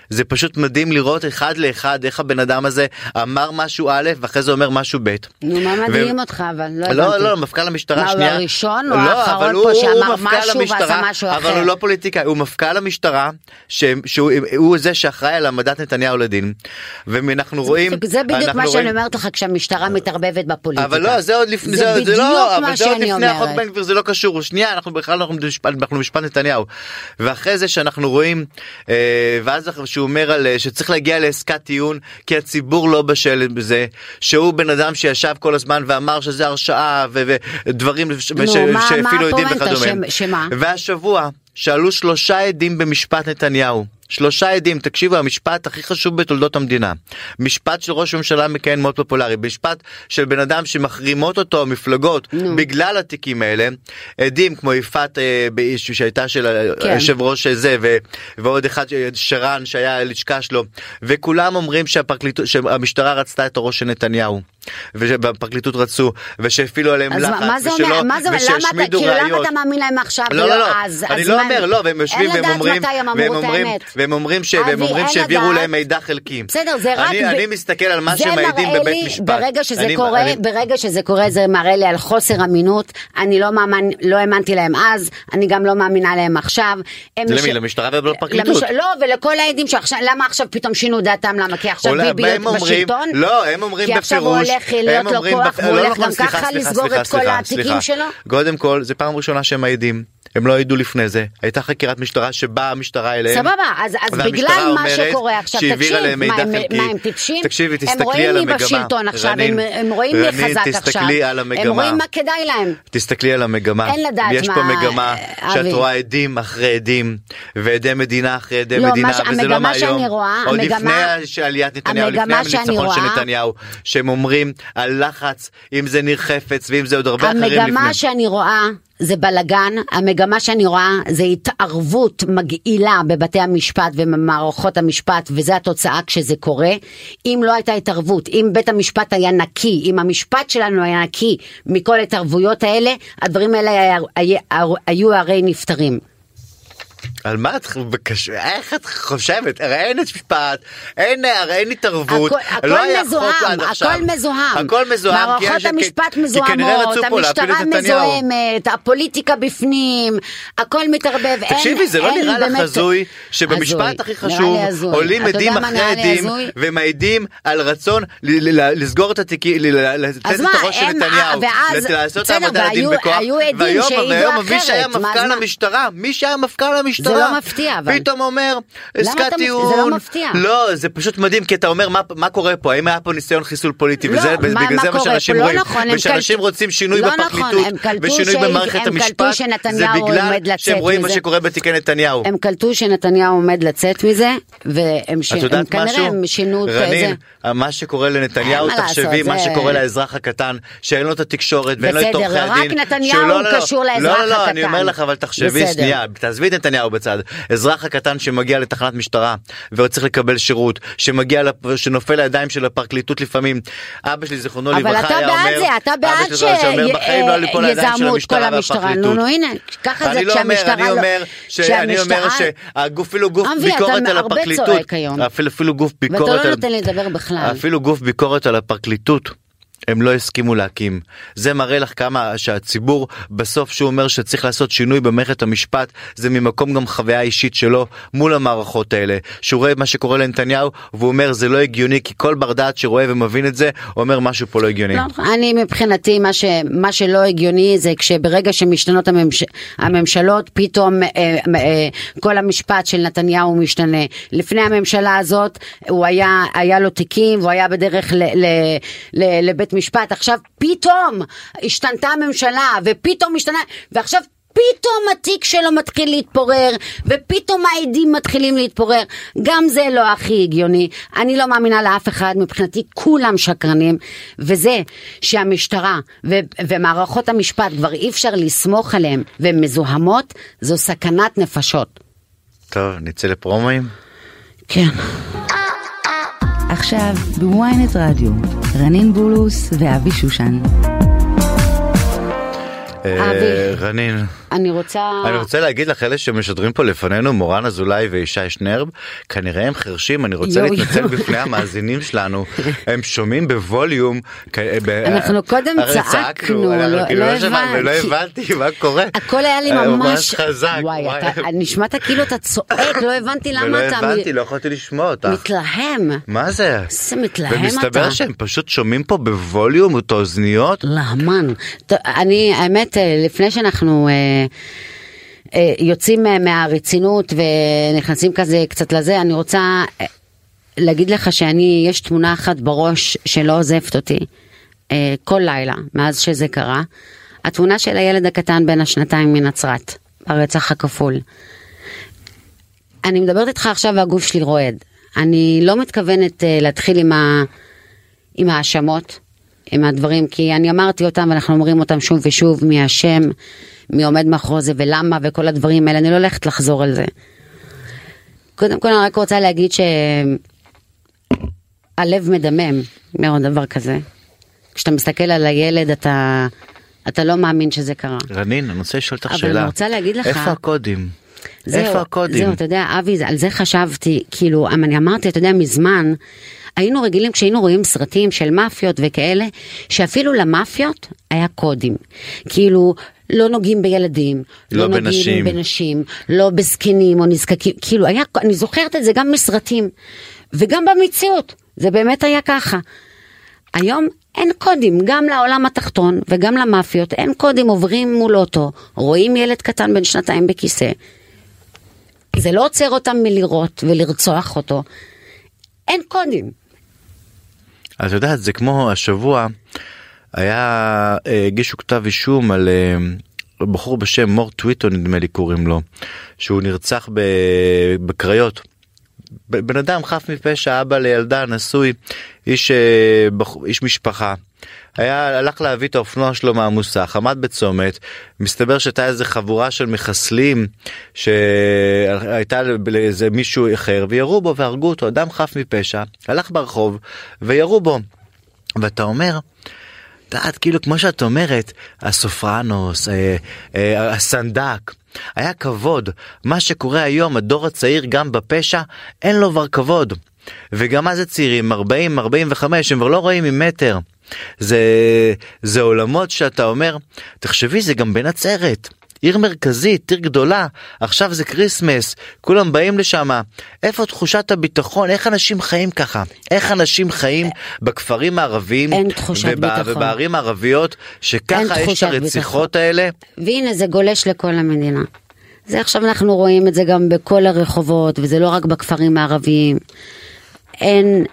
Speaker 3: זה פשוט מדהים לראות אחד לאחד איך הבן אדם הזה אמר משהו א' ואחרי זה אומר משהו ב'.
Speaker 2: נו, מה מדהים
Speaker 3: ו-
Speaker 2: אותך, אבל לא
Speaker 3: לא,
Speaker 2: הבנתי.
Speaker 3: לא, מפכ"ל המשטרה
Speaker 2: מה, הוא
Speaker 3: שנייה.
Speaker 2: הראשון? הוא
Speaker 3: לא,
Speaker 2: האחרון
Speaker 3: אבל
Speaker 2: פה
Speaker 3: הוא- הוא
Speaker 2: שאמר
Speaker 3: מפכ"ל
Speaker 2: משהו ועשה
Speaker 3: המשטרה,
Speaker 2: משהו
Speaker 3: אבל
Speaker 2: אחר.
Speaker 3: הוא לא פוליטיקאי, הוא מפכ"ל המשטרה, ש- שהוא הוא זה שאחראי על העמדת נתניהו לדין. ואנחנו רואים...
Speaker 2: זה בדיוק
Speaker 3: אנחנו
Speaker 2: מה שאני
Speaker 3: רואים-
Speaker 2: אומרת לך כשהמשטרה מתערבבת בפוליטיקה.
Speaker 3: אבל לא, זה עוד לפני,
Speaker 2: זה
Speaker 3: זה, זה לא,
Speaker 2: בדיוק מה
Speaker 3: אבל זה עוד
Speaker 2: שאני
Speaker 3: לפני החוק
Speaker 2: אומרת.
Speaker 3: בן גביר, זה לא קשור, שנייה, אנחנו בכלל אנחנו במשפט, אנחנו במשפט נתניהו. ואחרי זה שאנחנו רואים, אה, ואז אחרי שהוא אומר על, אה, שצריך להגיע לעסקת טיעון, כי הציבור לא בשל בזה, שהוא בן אדם שישב כל הזמן ואמר שזה הרשעה ו- ודברים וש-
Speaker 2: נו,
Speaker 3: וש-
Speaker 2: מה-
Speaker 3: שהפעילו
Speaker 2: מה
Speaker 3: עדים
Speaker 2: הפואנטה?
Speaker 3: וכדומה.
Speaker 2: ש- שמה?
Speaker 3: והשבוע שאלו שלושה עדים במשפט נתניהו. שלושה עדים, תקשיבו, המשפט הכי חשוב בתולדות המדינה. משפט של ראש ממשלה מכהן מאוד פופולרי, משפט של בן אדם שמחרימות אותו המפלגות בגלל התיקים האלה. עדים כמו יפעת אה, באיש- שהייתה של ה-
Speaker 2: כן.
Speaker 3: היושב ראש אה, זה ו- ועוד אחד אה, שרן שהיה הלשכה שלו וכולם אומרים שהפרקליטות שהמשטרה רצתה את הראש של נתניהו והפרקליטות רצו ושהפעילו עליהם
Speaker 2: אז
Speaker 3: לחץ
Speaker 2: מה- מה זה
Speaker 3: ושלא-
Speaker 2: אומר? מה זה אומר? למה אתה-
Speaker 3: ושהשמידו
Speaker 2: כאילו, למה
Speaker 3: לא- ראיות.
Speaker 2: אתה מאמין להם עכשיו
Speaker 3: לא
Speaker 2: ולא
Speaker 3: לא לא
Speaker 2: אז?
Speaker 3: אני
Speaker 2: אז
Speaker 3: לא
Speaker 2: מה-
Speaker 3: אומר לא והם יושבים
Speaker 2: אין
Speaker 3: והם
Speaker 2: לדעת
Speaker 3: אומרים
Speaker 2: מתי הם
Speaker 3: והם
Speaker 2: אמרו את
Speaker 3: אומרים
Speaker 2: האמת.
Speaker 3: והם אומרים שהם
Speaker 2: אבי,
Speaker 3: הם אומרים
Speaker 2: אין
Speaker 3: שהעבירו
Speaker 2: לדעת.
Speaker 3: להם מידע חלקי.
Speaker 2: בסדר, זה רק...
Speaker 3: אני,
Speaker 2: ב-
Speaker 3: אני מסתכל על מה
Speaker 2: זה
Speaker 3: שמעידים
Speaker 2: מראה
Speaker 3: בבית
Speaker 2: לי,
Speaker 3: משפט.
Speaker 2: ברגע שזה
Speaker 3: אני-
Speaker 2: קורה,
Speaker 3: אני-
Speaker 2: ברגע שזה קורה זה מראה לי על חוסר אמינות, אני לא, מאמין, לא האמנתי להם אז, אני גם לא מאמינה להם עכשיו. הם
Speaker 3: למי? למשטרה ולפרקליטות.
Speaker 2: למש- לא, ולכל העדים שעכשיו, למה עכשיו פתאום שינו דעתם? למה? כי עכשיו
Speaker 3: אולי-
Speaker 2: ביבי
Speaker 3: הם
Speaker 2: להיות
Speaker 3: אומרים-
Speaker 2: בשלטון?
Speaker 3: לא, הם אומרים
Speaker 2: כי עכשיו הוא
Speaker 3: בפירוש-
Speaker 2: הולך
Speaker 3: הם
Speaker 2: להיות לו
Speaker 3: אומרים
Speaker 2: כוח,
Speaker 3: בפ-
Speaker 2: והוא
Speaker 3: לא,
Speaker 2: הולך
Speaker 3: נכון,
Speaker 2: גם
Speaker 3: סליחה,
Speaker 2: ככה
Speaker 3: סליחה,
Speaker 2: לסגור
Speaker 3: סליחה,
Speaker 2: את כל
Speaker 3: סליחה,
Speaker 2: התיקים
Speaker 3: סליחה.
Speaker 2: שלו?
Speaker 3: קודם כל, זו פעם ראשונה שהם מעידים. הם לא ידעו לפני זה, הייתה חקירת משטרה שבאה המשטרה אליהם.
Speaker 2: סבבה, אז, אז
Speaker 3: כן. והמשטרה
Speaker 2: בגלל מה
Speaker 3: אומרת
Speaker 2: שקורה עכשיו,
Speaker 3: שהעבירה
Speaker 2: תקשיב,
Speaker 3: להם
Speaker 2: מה,
Speaker 3: מידע
Speaker 2: הם,
Speaker 3: חלקי.
Speaker 2: מה הם טיפשים?
Speaker 3: תקשיבי,
Speaker 2: הם
Speaker 3: תסתכלי
Speaker 2: רואים
Speaker 3: על
Speaker 2: מי
Speaker 3: המגמה.
Speaker 2: בשלטון עכשיו,
Speaker 3: רנין,
Speaker 2: הם, הם רואים מי
Speaker 3: רנין,
Speaker 2: חזק עכשיו,
Speaker 3: תסתכלי על
Speaker 2: הם
Speaker 3: המגמה.
Speaker 2: רואים מה כדאי להם.
Speaker 3: תסתכלי על המגמה.
Speaker 2: אין לדעת
Speaker 3: יש
Speaker 2: מה-
Speaker 3: פה מגמה
Speaker 2: אה, אבי.
Speaker 3: שאת רואה עדים אחרי עדים, ועדי מדינה אחרי עדי
Speaker 2: לא,
Speaker 3: מדינה,
Speaker 2: מה ש-
Speaker 3: וזה לא
Speaker 2: המגמה
Speaker 3: מהיום.
Speaker 2: שאני רואה,
Speaker 3: עוד
Speaker 2: המגמה-
Speaker 3: לפני ש- עליית נתניהו, לפני
Speaker 2: המגמה שאני
Speaker 3: הניצחון של
Speaker 2: רואה-
Speaker 3: נתניהו, שהם אומרים על לחץ, אם זה ניר חפץ ואם זה עוד הרבה אחרים לפני.
Speaker 2: המגמה שאני רואה זה בלגן, המגמה שאני רואה זה התערבות מגעילה בבתי המשפט ובמערכות המשפט, וזו התוצאה כשזה קורה. אם לא הייתה התערבות, אם בית המשפט היה נקי, אם המשפט שלנו היה נקי מכל ההתערבויות האלה, הדברים האלה היה- היה- היו הרי נפתרים.
Speaker 3: על מה את בקש... איך את חושבת? הרי אין משפט, אין, הרי אין התערבות.
Speaker 2: הכל-
Speaker 3: לא
Speaker 2: הכל
Speaker 3: היה חוק
Speaker 2: מזוהם,
Speaker 3: עד עכשיו.
Speaker 2: הכל מזוהם.
Speaker 3: הכל מזוהם. כי
Speaker 2: מערכות
Speaker 3: יש- כי-
Speaker 2: המשפט
Speaker 3: כי כנראה
Speaker 2: מזוהמות,
Speaker 3: רצו פה להפיל
Speaker 2: המשטרה
Speaker 3: את נתניהו.
Speaker 2: מזוהמת, הפוליטיקה בפנים, הכל מתערבב. אין-
Speaker 3: תקשיבי, זה לא
Speaker 2: אין
Speaker 3: נראה לך
Speaker 2: באמת-
Speaker 3: הזוי שבמשפט
Speaker 2: הזוי, נראה
Speaker 3: הכי
Speaker 2: לי
Speaker 3: חשוב
Speaker 2: הזוי.
Speaker 3: עולים
Speaker 2: אתה יודע
Speaker 3: עדים
Speaker 2: מה
Speaker 3: אחרי
Speaker 2: נראה לי
Speaker 3: עדים
Speaker 2: הזוי?
Speaker 3: ומעידים על רצון ל- ל- ל- לסגור את התיקים, ל- ל- לתת
Speaker 2: אז
Speaker 3: את
Speaker 2: מה,
Speaker 3: הראש של
Speaker 2: הם-
Speaker 3: נתניהו,
Speaker 2: ואז-
Speaker 3: לת- לעשות את
Speaker 2: בסדר,
Speaker 3: העמדה לדין
Speaker 2: והיו-
Speaker 3: בכוח,
Speaker 2: היו עדים
Speaker 3: והיום-
Speaker 2: שהעידו
Speaker 3: והיום מי
Speaker 2: אחרת,
Speaker 3: שהיה
Speaker 2: מה, אז
Speaker 3: מפכ"ל
Speaker 2: מה? לא
Speaker 3: המשטרה, מי שהיה מפכ"ל המשטרה,
Speaker 2: מפתיע, אבל.
Speaker 3: פתאום אומר,
Speaker 2: אתה-
Speaker 3: עסקת
Speaker 2: זה
Speaker 3: טיעון,
Speaker 2: לא מפתיע.
Speaker 3: לא, זה פשוט מדהים, כי אתה אומר, מה- מה קורה פה, האם היה פה ניסיון חיסול פוליטי,
Speaker 2: לא,
Speaker 3: וזה-
Speaker 2: מה-
Speaker 3: בגלל
Speaker 2: מה
Speaker 3: זה מה
Speaker 2: קורה
Speaker 3: שאנשים
Speaker 2: פה? לא
Speaker 3: רואים,
Speaker 2: נכון, הם
Speaker 3: ושאנשים
Speaker 2: קלטו-
Speaker 3: רוצים שינוי
Speaker 2: לא נכון,
Speaker 3: בפרקליטות,
Speaker 2: הם קלטו
Speaker 3: ושינוי
Speaker 2: ש-
Speaker 3: במערכת
Speaker 2: הם קלטו
Speaker 3: המשפט, זה
Speaker 2: שנתניהו
Speaker 3: בגלל
Speaker 2: עומד
Speaker 3: שהם
Speaker 2: לצאת
Speaker 3: רואים מה
Speaker 2: מזה.
Speaker 3: שקורה בתיקי נתניהו.
Speaker 2: הם קלטו שנתניהו עומד לצאת מזה, והם ש-
Speaker 3: את
Speaker 2: הם
Speaker 3: יודעת
Speaker 2: כנראה
Speaker 3: משהו?
Speaker 2: הם שינו את זה.
Speaker 3: רנין, אה, מה שקורה לנתניהו,
Speaker 2: אין מה
Speaker 3: תחשבי
Speaker 2: לעשות,
Speaker 3: מה
Speaker 2: זה-
Speaker 3: שקורה לאזרח הקטן, שאין לו את התקשורת ואין לו את
Speaker 2: בסדר,
Speaker 3: עורכי
Speaker 2: רק
Speaker 3: הדין.
Speaker 2: נתניהו
Speaker 3: שלא- לא, לא,
Speaker 2: קשור לאזרח
Speaker 3: לא, לא, לא, אני
Speaker 2: הקטן.
Speaker 3: אומר לך, אבל תחשבי,
Speaker 2: בסדר.
Speaker 3: שנייה, תעזבי את נתניהו בצד. אזרח הקטן שמגיע לתחנת משטרה ועוד צריך לקבל שירות, שמגיע, לפ- שנופל לידיים של הפרקליטות לפעמים. אבא שלי, זיכרונו
Speaker 2: אבל
Speaker 3: לברכה,
Speaker 2: אתה
Speaker 3: היה אומר...
Speaker 2: בעד זה, אתה
Speaker 3: אבא
Speaker 2: בעד
Speaker 3: שלי, זיכרונו לברכה, שאומר,
Speaker 2: ש-
Speaker 3: "בחיים לא
Speaker 2: אה,
Speaker 3: ליפול לידיים של
Speaker 2: יזהמו את כל
Speaker 3: המשטרה
Speaker 2: המשטרה." נו, נו,
Speaker 3: והפרקליטות."
Speaker 2: הנה, ככה זה
Speaker 3: אני לא אומר,
Speaker 2: כשהמשטרה
Speaker 3: אני
Speaker 2: לא-
Speaker 3: אומר, ש- אני אומר
Speaker 2: כשהמשטרה-
Speaker 3: שאפילו גוף
Speaker 2: אבי, אתה
Speaker 3: ביקורת על
Speaker 2: הרבה
Speaker 3: הפרקליטות,
Speaker 2: צועק היום.
Speaker 3: אפילו- אפילו גוף
Speaker 2: ואתה
Speaker 3: ביקורת
Speaker 2: לא
Speaker 3: על-
Speaker 2: נותן לי לדבר בכלל.
Speaker 3: אפילו גוף ביקורת על הפרקליטות. הם לא הסכימו להקים. זה מראה לך כמה שהציבור בסוף שהוא אומר שצריך לעשות שינוי במערכת המשפט זה ממקום גם חוויה אישית שלו מול המערכות האלה. שהוא רואה מה שקורה לנתניהו והוא אומר זה לא הגיוני כי כל בר דעת שרואה ומבין את זה אומר משהו פה לא הגיוני.
Speaker 2: לא, אני מבחינתי, מה, ש, מה שלא הגיוני זה כשברגע שמשתנות הממש, הממשלות, פתאום אה, אה, כל המשפט של נתניהו משתנה. לפני הממשלה הזאת, הוא היה, היה לו תיקים, והוא היה בדרך ל, ל, ל, לבית משפט, עכשיו פתאום השתנתה הממשלה, ופתאום השתנה, ועכשיו... פתאום התיק שלו מתחיל להתפורר, ופתאום העדים מתחילים להתפורר. גם זה לא הכי הגיוני. אני לא מאמינה לאף אחד, מבחינתי כולם שקרנים. וזה שהמשטרה ו- ומערכות המשפט כבר אי אפשר לסמוך עליהם, והן מזוהמות, זו סכנת נפשות.
Speaker 3: טוב נצא לפרומואים.
Speaker 2: כן.
Speaker 5: עכשיו בוויינט רדיו, רנין בולוס ואבי שושן.
Speaker 3: אה, רנין.
Speaker 2: אני רוצה...
Speaker 3: אני רוצה להגיד לך, אלה שמשדרים פה לפנינו, מורן אזולאי וישי שנרב, כנראה הם חרשים, אני רוצה
Speaker 2: יואו,
Speaker 3: להתנצל
Speaker 2: יואו.
Speaker 3: בפני המאזינים שלנו, הם שומעים בווליום. כ- אה, ב-
Speaker 2: אנחנו קודם
Speaker 3: הרי
Speaker 2: צעקנו,
Speaker 3: אבל
Speaker 2: לא-
Speaker 3: כאילו
Speaker 2: לא
Speaker 3: שמע-
Speaker 2: הבנתי.
Speaker 3: ולא הבנתי מה קורה.
Speaker 2: הכל היה לי
Speaker 3: אה,
Speaker 2: ממש...
Speaker 3: חזק.
Speaker 2: וואי, אתה... נשמעת כאילו אתה צועק, לא הבנתי
Speaker 3: ולא
Speaker 2: למה אתה... מ-
Speaker 3: הבנתי, לא יכולתי לשמוע אותך.
Speaker 2: מתלהם.
Speaker 3: מה זה?
Speaker 2: איזה מתלהם אתה.
Speaker 3: ומסתבר שהם פשוט שומעים פה בווליום את האוזניות.
Speaker 2: להמן. טוב, אני, האמת, אה, לפני שאנחנו אה, אה, יוצאים אה, מהרצינות ונכנסים כזה קצת לזה, אני רוצה אה, להגיד לך שאני, יש תמונה אחת בראש שלא עוזבת אותי אה, כל לילה מאז שזה קרה. התמונה של הילד הקטן בן השנתיים מנצרת, הרצח הכפול. אני מדברת איתך עכשיו והגוף שלי רועד. אני לא מתכוונת אה, להתחיל עם ה... עם ההאשמות, עם הדברים, כי אני אמרתי אותם ואנחנו אומרים אותם שוב ושוב, מי אשם, מי עומד מאחורי זה ולמה וכל הדברים האלה, אני לא הולכת לחזור על זה. קודם כל אני רק רוצה להגיד שהלב מדמם מאוד דבר כזה. כשאתה מסתכל על הילד אתה, אתה לא מאמין שזה קרה.
Speaker 3: רנין, אני רוצה לשאול אותך
Speaker 2: אבל
Speaker 3: שאלה.
Speaker 2: אני רוצה להגיד לך-
Speaker 3: איפה הקודים?
Speaker 2: זהו,
Speaker 3: איפה הקודים?
Speaker 2: זהו, אתה יודע, אבי, זה- על זה חשבתי, כאילו, אמ- אני אמרתי, אתה יודע, מזמן, היינו רגילים כשהיינו רואים סרטים של מאפיות וכאלה, שאפילו למאפיות היה קודים. כאילו, לא נוגעים בילדים,
Speaker 3: לא
Speaker 2: נוגעים
Speaker 3: בנשים.
Speaker 2: בנשים, לא בזקנים או נזקקים, כאילו, היה, אני זוכרת את זה גם מסרטים, וגם במציאות, זה באמת היה ככה. היום אין קודים, גם לעולם התחתון וגם למאפיות, אין קודים, עוברים מול אוטו, רואים ילד קטן בן שנתיים בכיסא. זה לא עוצר אותם מלירות ולרצוח אותו. אין קודים.
Speaker 3: אז את יודעת זה כמו השבוע היה אה, הגישו כתב אישום על אה, בחור בשם מור טוויטו נדמה לי קוראים לו שהוא נרצח ב, בקריות. ב- בן אדם חף מפשע אבא לילדה נשוי איש אה, בח, איש משפחה. היה הלך להביא את האופנוע שלו מהמוסך עמד בצומת מסתבר שהייתה איזה חבורה של מחסלים שהייתה לאיזה מישהו אחר וירו בו והרגו אותו אדם חף מפשע הלך ברחוב וירו בו. ואתה אומר. את יודעת, כאילו כמו שאת אומרת, הסופרנוס, אה, אה, הסנדק, היה כבוד. מה שקורה היום, הדור הצעיר גם בפשע, אין לו כבר כבוד. וגם אז הצעירים, 40, 45, הם כבר לא רואים ממטר. זה, זה עולמות שאתה אומר, תחשבי, זה גם בנצרת. עיר מרכזית, עיר גדולה, עכשיו זה כריסמס, כולם באים לשם. איפה תחושת הביטחון? איך אנשים חיים ככה? איך אנשים חיים בכפרים הערביים?
Speaker 2: אין תחושת ביטחון.
Speaker 3: ובערים הערביות,
Speaker 2: אין
Speaker 3: שככה יש את
Speaker 2: תחושת
Speaker 3: הרציחות האלה?
Speaker 2: והנה זה גולש לכל המדינה. זה עכשיו אנחנו רואים את זה גם בכל הרחובות, וזה לא רק בכפרים הערביים. אין,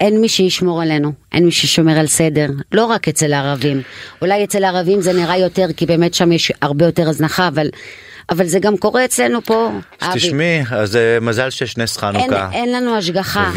Speaker 2: אין מי שישמור עלינו, אין מי ששומר על סדר, לא רק אצל הערבים. אולי אצל הערבים זה נראה יותר, כי באמת שם יש הרבה יותר הזנחה, אבל, אבל זה גם קורה אצלנו פה,
Speaker 3: אז
Speaker 2: אבי.
Speaker 3: תשמעי, אז אה, מזל שיש נס
Speaker 2: אין,
Speaker 3: חנוכה.
Speaker 2: אין לנו השגחה.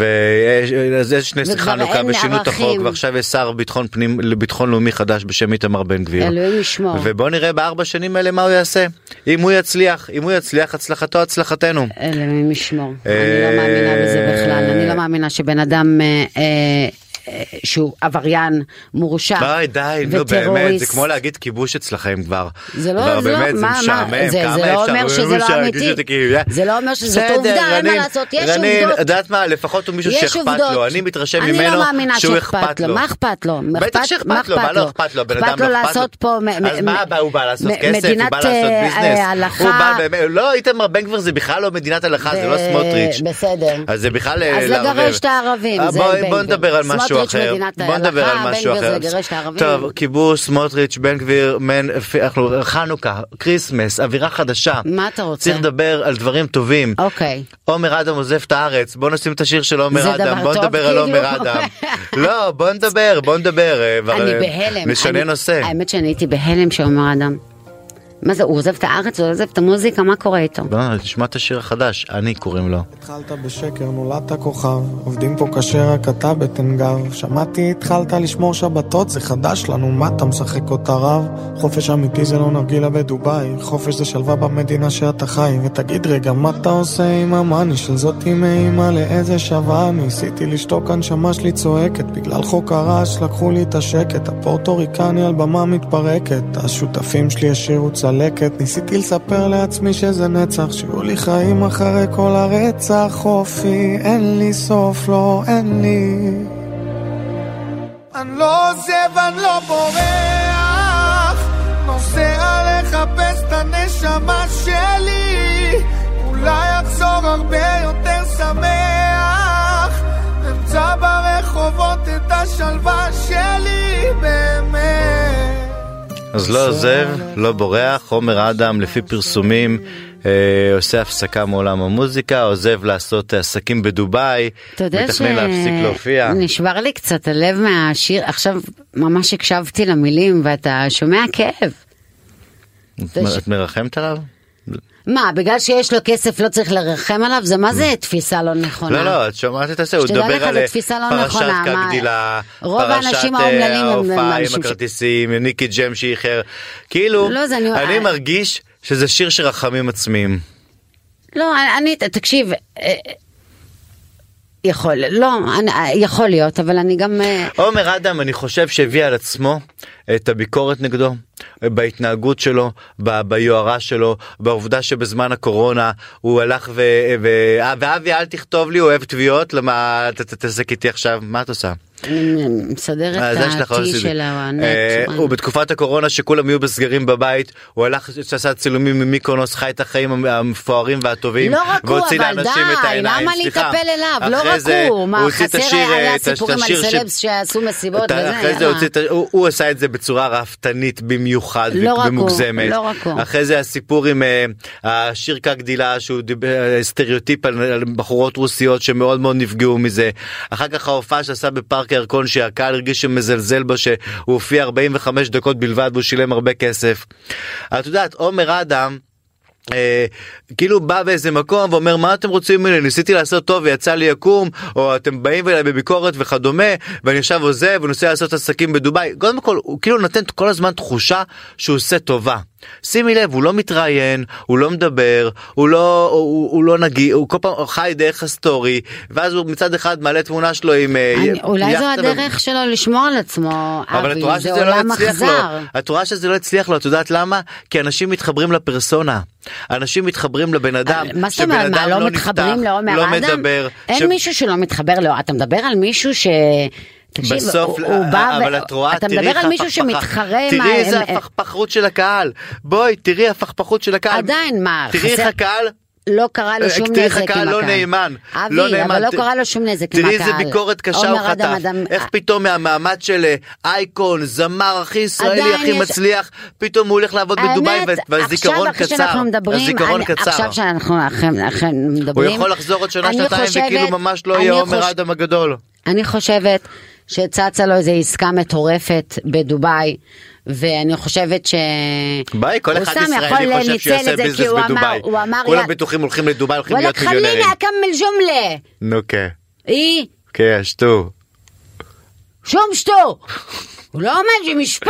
Speaker 3: ויש אז אה, יש נס
Speaker 2: וכבר
Speaker 3: חנוכה
Speaker 2: אין
Speaker 3: ושינו את
Speaker 2: ערכים.
Speaker 3: החוק ועכשיו יש שר ביטחון פנים לביטחון לאומי חדש בשם איתמר בן גביר.
Speaker 2: אלוהים ישמור.
Speaker 3: ובוא נראה בארבע שנים האלה מה הוא יעשה. אם הוא יצליח, אם הוא יצליח הצלחתו הצלחתנו.
Speaker 2: אלוהים ישמור. אני
Speaker 3: אה,
Speaker 2: לא מאמינה בזה בכלל. אני לא מאמינה שבן אדם אה, אה, אה, שהוא עבריין, מורשע
Speaker 3: די די נו באמת זה
Speaker 2: וטרוריסט.
Speaker 3: כמו להגיד כיבוש אצלכם כבר.
Speaker 2: זה לא-
Speaker 3: כבר
Speaker 2: זה לא-
Speaker 3: באמת זה
Speaker 2: מה- מה-
Speaker 3: משעמם
Speaker 2: זה-
Speaker 3: כמה
Speaker 2: זה לא
Speaker 3: אפשר,
Speaker 2: אומר
Speaker 3: הוא
Speaker 2: שזה לא
Speaker 3: משעמם,
Speaker 2: אמיתי.
Speaker 3: שזה כאילו,
Speaker 2: זה לא אומר שזאת
Speaker 3: בסדר,
Speaker 2: עובדה, אין מה
Speaker 3: רנין,
Speaker 2: לעשות, יש
Speaker 3: רנין,
Speaker 2: עובדות.
Speaker 3: יודעת מה לפחות הוא מישהו
Speaker 2: יש
Speaker 3: שאכפת
Speaker 2: עובדות.
Speaker 3: לו אני מתרשם
Speaker 2: אני
Speaker 3: ממנו
Speaker 2: לא מאמינה
Speaker 3: שהוא אכפת לו.
Speaker 2: מה אכפת לו?
Speaker 3: בטח
Speaker 2: אכפת- מה
Speaker 3: שאכפת לו, מה לא אכפת לו? בן אדם לא
Speaker 2: אכפת
Speaker 3: אכפת
Speaker 2: לו
Speaker 3: לו.
Speaker 2: לעשות פה... מ- מ-
Speaker 3: אז מה
Speaker 2: מ-
Speaker 3: הבא, הוא בא לעשות
Speaker 2: מ-
Speaker 3: כסף? הוא
Speaker 2: מדינת,
Speaker 3: בא לעשות
Speaker 2: אה,
Speaker 3: ביזנס?
Speaker 2: הלכה-
Speaker 3: הוא בא באמת, לא, איתמר בן גביר זה בכלל לא מדינת הלכה, זה לא
Speaker 2: אה,
Speaker 3: סמוטריץ'.
Speaker 2: בסדר.
Speaker 3: אז זה בכלל אה,
Speaker 2: אז
Speaker 3: לערבב.
Speaker 2: לגרש את הערבים,
Speaker 3: אה,
Speaker 2: זה
Speaker 3: בוא-
Speaker 2: בן גביר.
Speaker 3: בוא נדבר על משהו
Speaker 2: סמוטריץ'
Speaker 3: אחר.
Speaker 2: מדינת
Speaker 3: בוא נדבר על
Speaker 2: ההלכה, בן
Speaker 3: משהו
Speaker 2: גביר זה
Speaker 3: אחר.
Speaker 2: לגרש את הערבים.
Speaker 3: טוב, כיבוש, סמוטריץ', בן גביר, מן- אפ- אנחנו חנוכה, כריסמס, אווירה חדשה.
Speaker 2: מה אתה רוצה?
Speaker 3: צריך לדבר על דברים טובים.
Speaker 2: אוקיי.
Speaker 3: עומר אדם עוזב את הארץ, בוא נשים את השיר של עומר
Speaker 2: זה דבר
Speaker 3: אדם, בוא
Speaker 2: טוב,
Speaker 3: נדבר על עומר
Speaker 2: כאילו.
Speaker 3: אדם. לא, בוא נדבר, בוא נדבר. אה, כבר,
Speaker 2: אני
Speaker 3: אה,
Speaker 2: בהלם.
Speaker 3: נשנה
Speaker 2: אני-
Speaker 3: נושא.
Speaker 2: האמת שאני הייתי בהלם שאומר אדם. מה זה, הוא עוזב את הארץ, הוא עוזב את המוזיקה, מה קורה איתו?
Speaker 3: לא, תשמע את השיר החדש, אני קוראים לו.
Speaker 6: התחלת בשקר, נולדת כוכב, עובדים פה קשה רק אתה בטן גב. שמעתי, התחלת לשמור שבתות, זה חדש לנו, מה אתה משחק אותה רב? חופש אמיתי זה לא נרגילה בדובאי, חופש זה שלווה במדינה שאתה חי. ותגיד רגע, מה אתה עושה עם המאני של זאת עם אימא, לאיזה שווה? ניסיתי לשתוק, הנשמה שלי צועקת, בגלל חוק הרעש לקחו לי את השקט, הפורטוריקני על במה מתפרקת, השותפים שלי השאירו צלקת, ניסיתי לספר לעצמי שזה נצח, שיהיו לי חיים אחרי כל הרצח, אופי, אין לי סוף, לא, אין לי. אני לא עוזב, אני לא בורח, נוסע לחפש את הנשמה שלי, אולי אחזור הרבה יותר שמח, אמצא ברחובות את השלווה שלי באמת.
Speaker 3: אז לא עוזב, לא בורח, עומר אדם לפי פרסומים אה, עושה הפסקה מעולם המוזיקה, עוזב לעשות עסקים בדובאי,
Speaker 2: אתה יודע
Speaker 3: מתכנן להפסיק להופיע.
Speaker 2: נשבר לי קצת הלב מהשיר, עכשיו ממש הקשבתי למילים ואתה שומע כאב.
Speaker 3: את מ- את מרחמת עליו?
Speaker 2: מה, בגלל שיש לו כסף לא צריך לרחם עליו? זה מה זה תפיסה לא נכונה?
Speaker 3: לא, לא, את שומעת את הזה, הוא
Speaker 2: שתדע
Speaker 3: מדבר
Speaker 2: לך,
Speaker 3: על
Speaker 2: זו
Speaker 3: אה,
Speaker 2: תפיסה לא
Speaker 3: פרשת
Speaker 2: נכונה, מה-
Speaker 3: קקדילה,
Speaker 2: רוב
Speaker 3: פרשת
Speaker 2: האנשים
Speaker 3: אה,
Speaker 2: האומללים הם- הם
Speaker 3: ההופעה עם
Speaker 2: אנשים ש-
Speaker 3: הכרטיסים, ניקי ג'ם שאיחר, כאילו,
Speaker 2: לא, זה אני-
Speaker 3: אני
Speaker 2: אה,
Speaker 3: מרגיש שזה שיר של רחמים עצמיים.
Speaker 2: לא, אני- אני, תקשיב, אה, יכול, לא, אני- אה, יכול להיות, אבל אני גם... אה,
Speaker 3: עומר אדם אני חושב שהביא על עצמו את הביקורת נגדו בהתנהגות שלו, ב- ביוהרה שלו, בעובדה שבזמן הקורונה הוא הלך ו... ו... אה, ואבי אל תכתוב לי, הוא אוהב תביעות, למה אתה תתעסק איתי עכשיו, מה את עושה?
Speaker 2: אני מסדרת
Speaker 3: אה, זה
Speaker 2: את
Speaker 3: שלך לא
Speaker 2: ה-T
Speaker 3: עשיתי.
Speaker 2: של הנט.
Speaker 3: אה, הוא בתקופת הקורונה שכולם יהיו בסגרים בבית, הוא הלך, עשה צילומים ממיקונוס, חי את החיים המפוארים והטובים,
Speaker 2: לא רק הוא,
Speaker 3: והוציא
Speaker 2: אבל
Speaker 3: לאנשים
Speaker 2: די,
Speaker 3: את העיניים.
Speaker 2: למה
Speaker 3: סליחה.
Speaker 2: להיטפל אליו? לא
Speaker 3: אחרי
Speaker 2: רק
Speaker 3: זה
Speaker 2: הוא, מה,
Speaker 3: הוציא את
Speaker 2: חסר
Speaker 3: השיר,
Speaker 2: היה
Speaker 3: אה, את ה-
Speaker 2: סיפורים
Speaker 3: את
Speaker 2: על
Speaker 3: השיר ש-
Speaker 2: סלבס שעשו מסיבות
Speaker 3: אתה-
Speaker 2: וזה, אה,
Speaker 3: אחרי זה
Speaker 2: יאללה.
Speaker 3: הוציא את ה- הוא הוא עשה את זה בצורה רהפתנית במיוחד
Speaker 2: לא רק הוא,
Speaker 3: ומוגזמת.
Speaker 2: לא רק הוא.
Speaker 3: אחרי זה הסיפור עם אה, השיר כגדילה שהוא דיבר אה, סטריאוטיפ על על בחורות רוסיות שמאוד מאוד נפגעו מזה. אחר כך ההופעה שעשה בפארק הירקון שהקהל הרגיש שמזלזל בו שהוא הופיע 45 דקות בלבד והוא שילם הרבה כסף. את יודעת עומר אדם. אה, כאילו בא באיזה מקום ואומר מה אתם רוצים ממני ניסיתי לעשות טוב ויצא לי עקום או אתם באים אליי בביקורת וכדומה ואני עכשיו עוזב ונוסע לעשות עסקים בדובאי קודם כל הוא כאילו נותן כל הזמן תחושה שהוא עושה טובה. שימי לב הוא לא מתראיין הוא לא מדבר הוא לא הוא, הוא, הוא לא נגיע הוא כל פעם חי דרך הסטורי ואז הוא מצד אחד מעלה תמונה שלו עם אה,
Speaker 2: אני- אולי זו
Speaker 3: יאכטה ו-
Speaker 2: הדרך שלו לשמור על עצמו,
Speaker 3: אבל את
Speaker 2: אבי,
Speaker 3: רואה
Speaker 2: זה
Speaker 3: שזה לא
Speaker 2: עולם
Speaker 3: הצליח
Speaker 2: אכזר.
Speaker 3: לו, את רואה שזה לא הצליח לו, את יודעת למה? כי אנשים מתחברים לפרסונה. אנשים מתחברים לבן אדם,
Speaker 2: אבל אה, מה זאת
Speaker 3: שבן
Speaker 2: אומרת, מה,
Speaker 3: אדם
Speaker 2: לא
Speaker 3: לא נפתח,
Speaker 2: מתחברים לעומר
Speaker 3: לא
Speaker 2: אדם?
Speaker 3: מדבר. ש-
Speaker 2: אין מישהו שלא מתחבר לעומר, אתה מדבר על מישהו ש... תקשיב,
Speaker 3: בסוף,
Speaker 2: כאילו, הוא הוא
Speaker 3: א-
Speaker 2: בא,
Speaker 3: אה, אבל
Speaker 2: ו-
Speaker 3: את רואה,
Speaker 2: אתה
Speaker 3: תראי
Speaker 2: מדבר על מישהו
Speaker 3: הפכפכה.
Speaker 2: שמתחרה, עם
Speaker 3: תראי
Speaker 2: ה- אה,
Speaker 3: איזה
Speaker 2: הם-
Speaker 3: הפכפכות של הקהל. בואי, תראי הפכפכות של הקהל.
Speaker 2: עדיין, מה,
Speaker 3: תראי איך
Speaker 2: חסר-
Speaker 3: הקהל.
Speaker 2: לא קרה לו שום נזק עם
Speaker 3: תראי
Speaker 2: הקהל.
Speaker 3: איך הקהל לא נאמן,
Speaker 2: אבי,
Speaker 3: לא נאמן.
Speaker 2: אבל לא
Speaker 3: ת-
Speaker 2: קרה לו שום נזק עם
Speaker 3: תראי
Speaker 2: הקהל.
Speaker 3: איזה ביקורת קשה הוא
Speaker 2: עומר אדם,
Speaker 3: חטף,
Speaker 2: אדם- אה,
Speaker 3: איך פתאום מהמעמד של אה, אייקון, זמר הכי ישראלי,
Speaker 2: עדיין
Speaker 3: הכי
Speaker 2: יש-
Speaker 3: מצליח, פתאום הוא הולך לעבוד בדובאי
Speaker 2: אה, האמת,
Speaker 3: וה- והזיכרון
Speaker 2: עכשיו, אחרי
Speaker 3: קצר,
Speaker 2: שאנחנו מדברים,
Speaker 3: הזיכרון
Speaker 2: אני-
Speaker 3: קצר.
Speaker 2: עכשיו שאנחנו אכן- אכן
Speaker 3: הוא
Speaker 2: מדברים,
Speaker 3: יכול לחזור עוד שנה
Speaker 2: אני
Speaker 3: שנתיים
Speaker 2: חושבת-
Speaker 3: וכאילו ממש לא
Speaker 2: אני
Speaker 3: יהיה
Speaker 2: חוש-
Speaker 3: עומר אדם הגדול.
Speaker 2: אני חושבת שצצה לו איזו עסקה מטורפת בדובאי, ואני חושבת ש...
Speaker 3: ביי, כל אחד
Speaker 2: אוסאמה
Speaker 3: ישראלי
Speaker 2: יכול
Speaker 3: חושב
Speaker 2: לנצל
Speaker 3: שהוא יעשה
Speaker 2: את זה, כי
Speaker 3: ביזנס
Speaker 2: הוא אמר-
Speaker 3: בדובאי.
Speaker 2: הוא אמר,
Speaker 3: כולם
Speaker 2: יא-
Speaker 3: בטוחים הולכים לדובאי, הולכים
Speaker 2: וואלכ
Speaker 3: להיות מיליונרים.
Speaker 2: חלילה אוקיי. אכמל ג'ומלה,
Speaker 3: נו כן,
Speaker 2: אי
Speaker 3: כן, שטו.
Speaker 2: שום שטו. הוא לא עומד במשפט,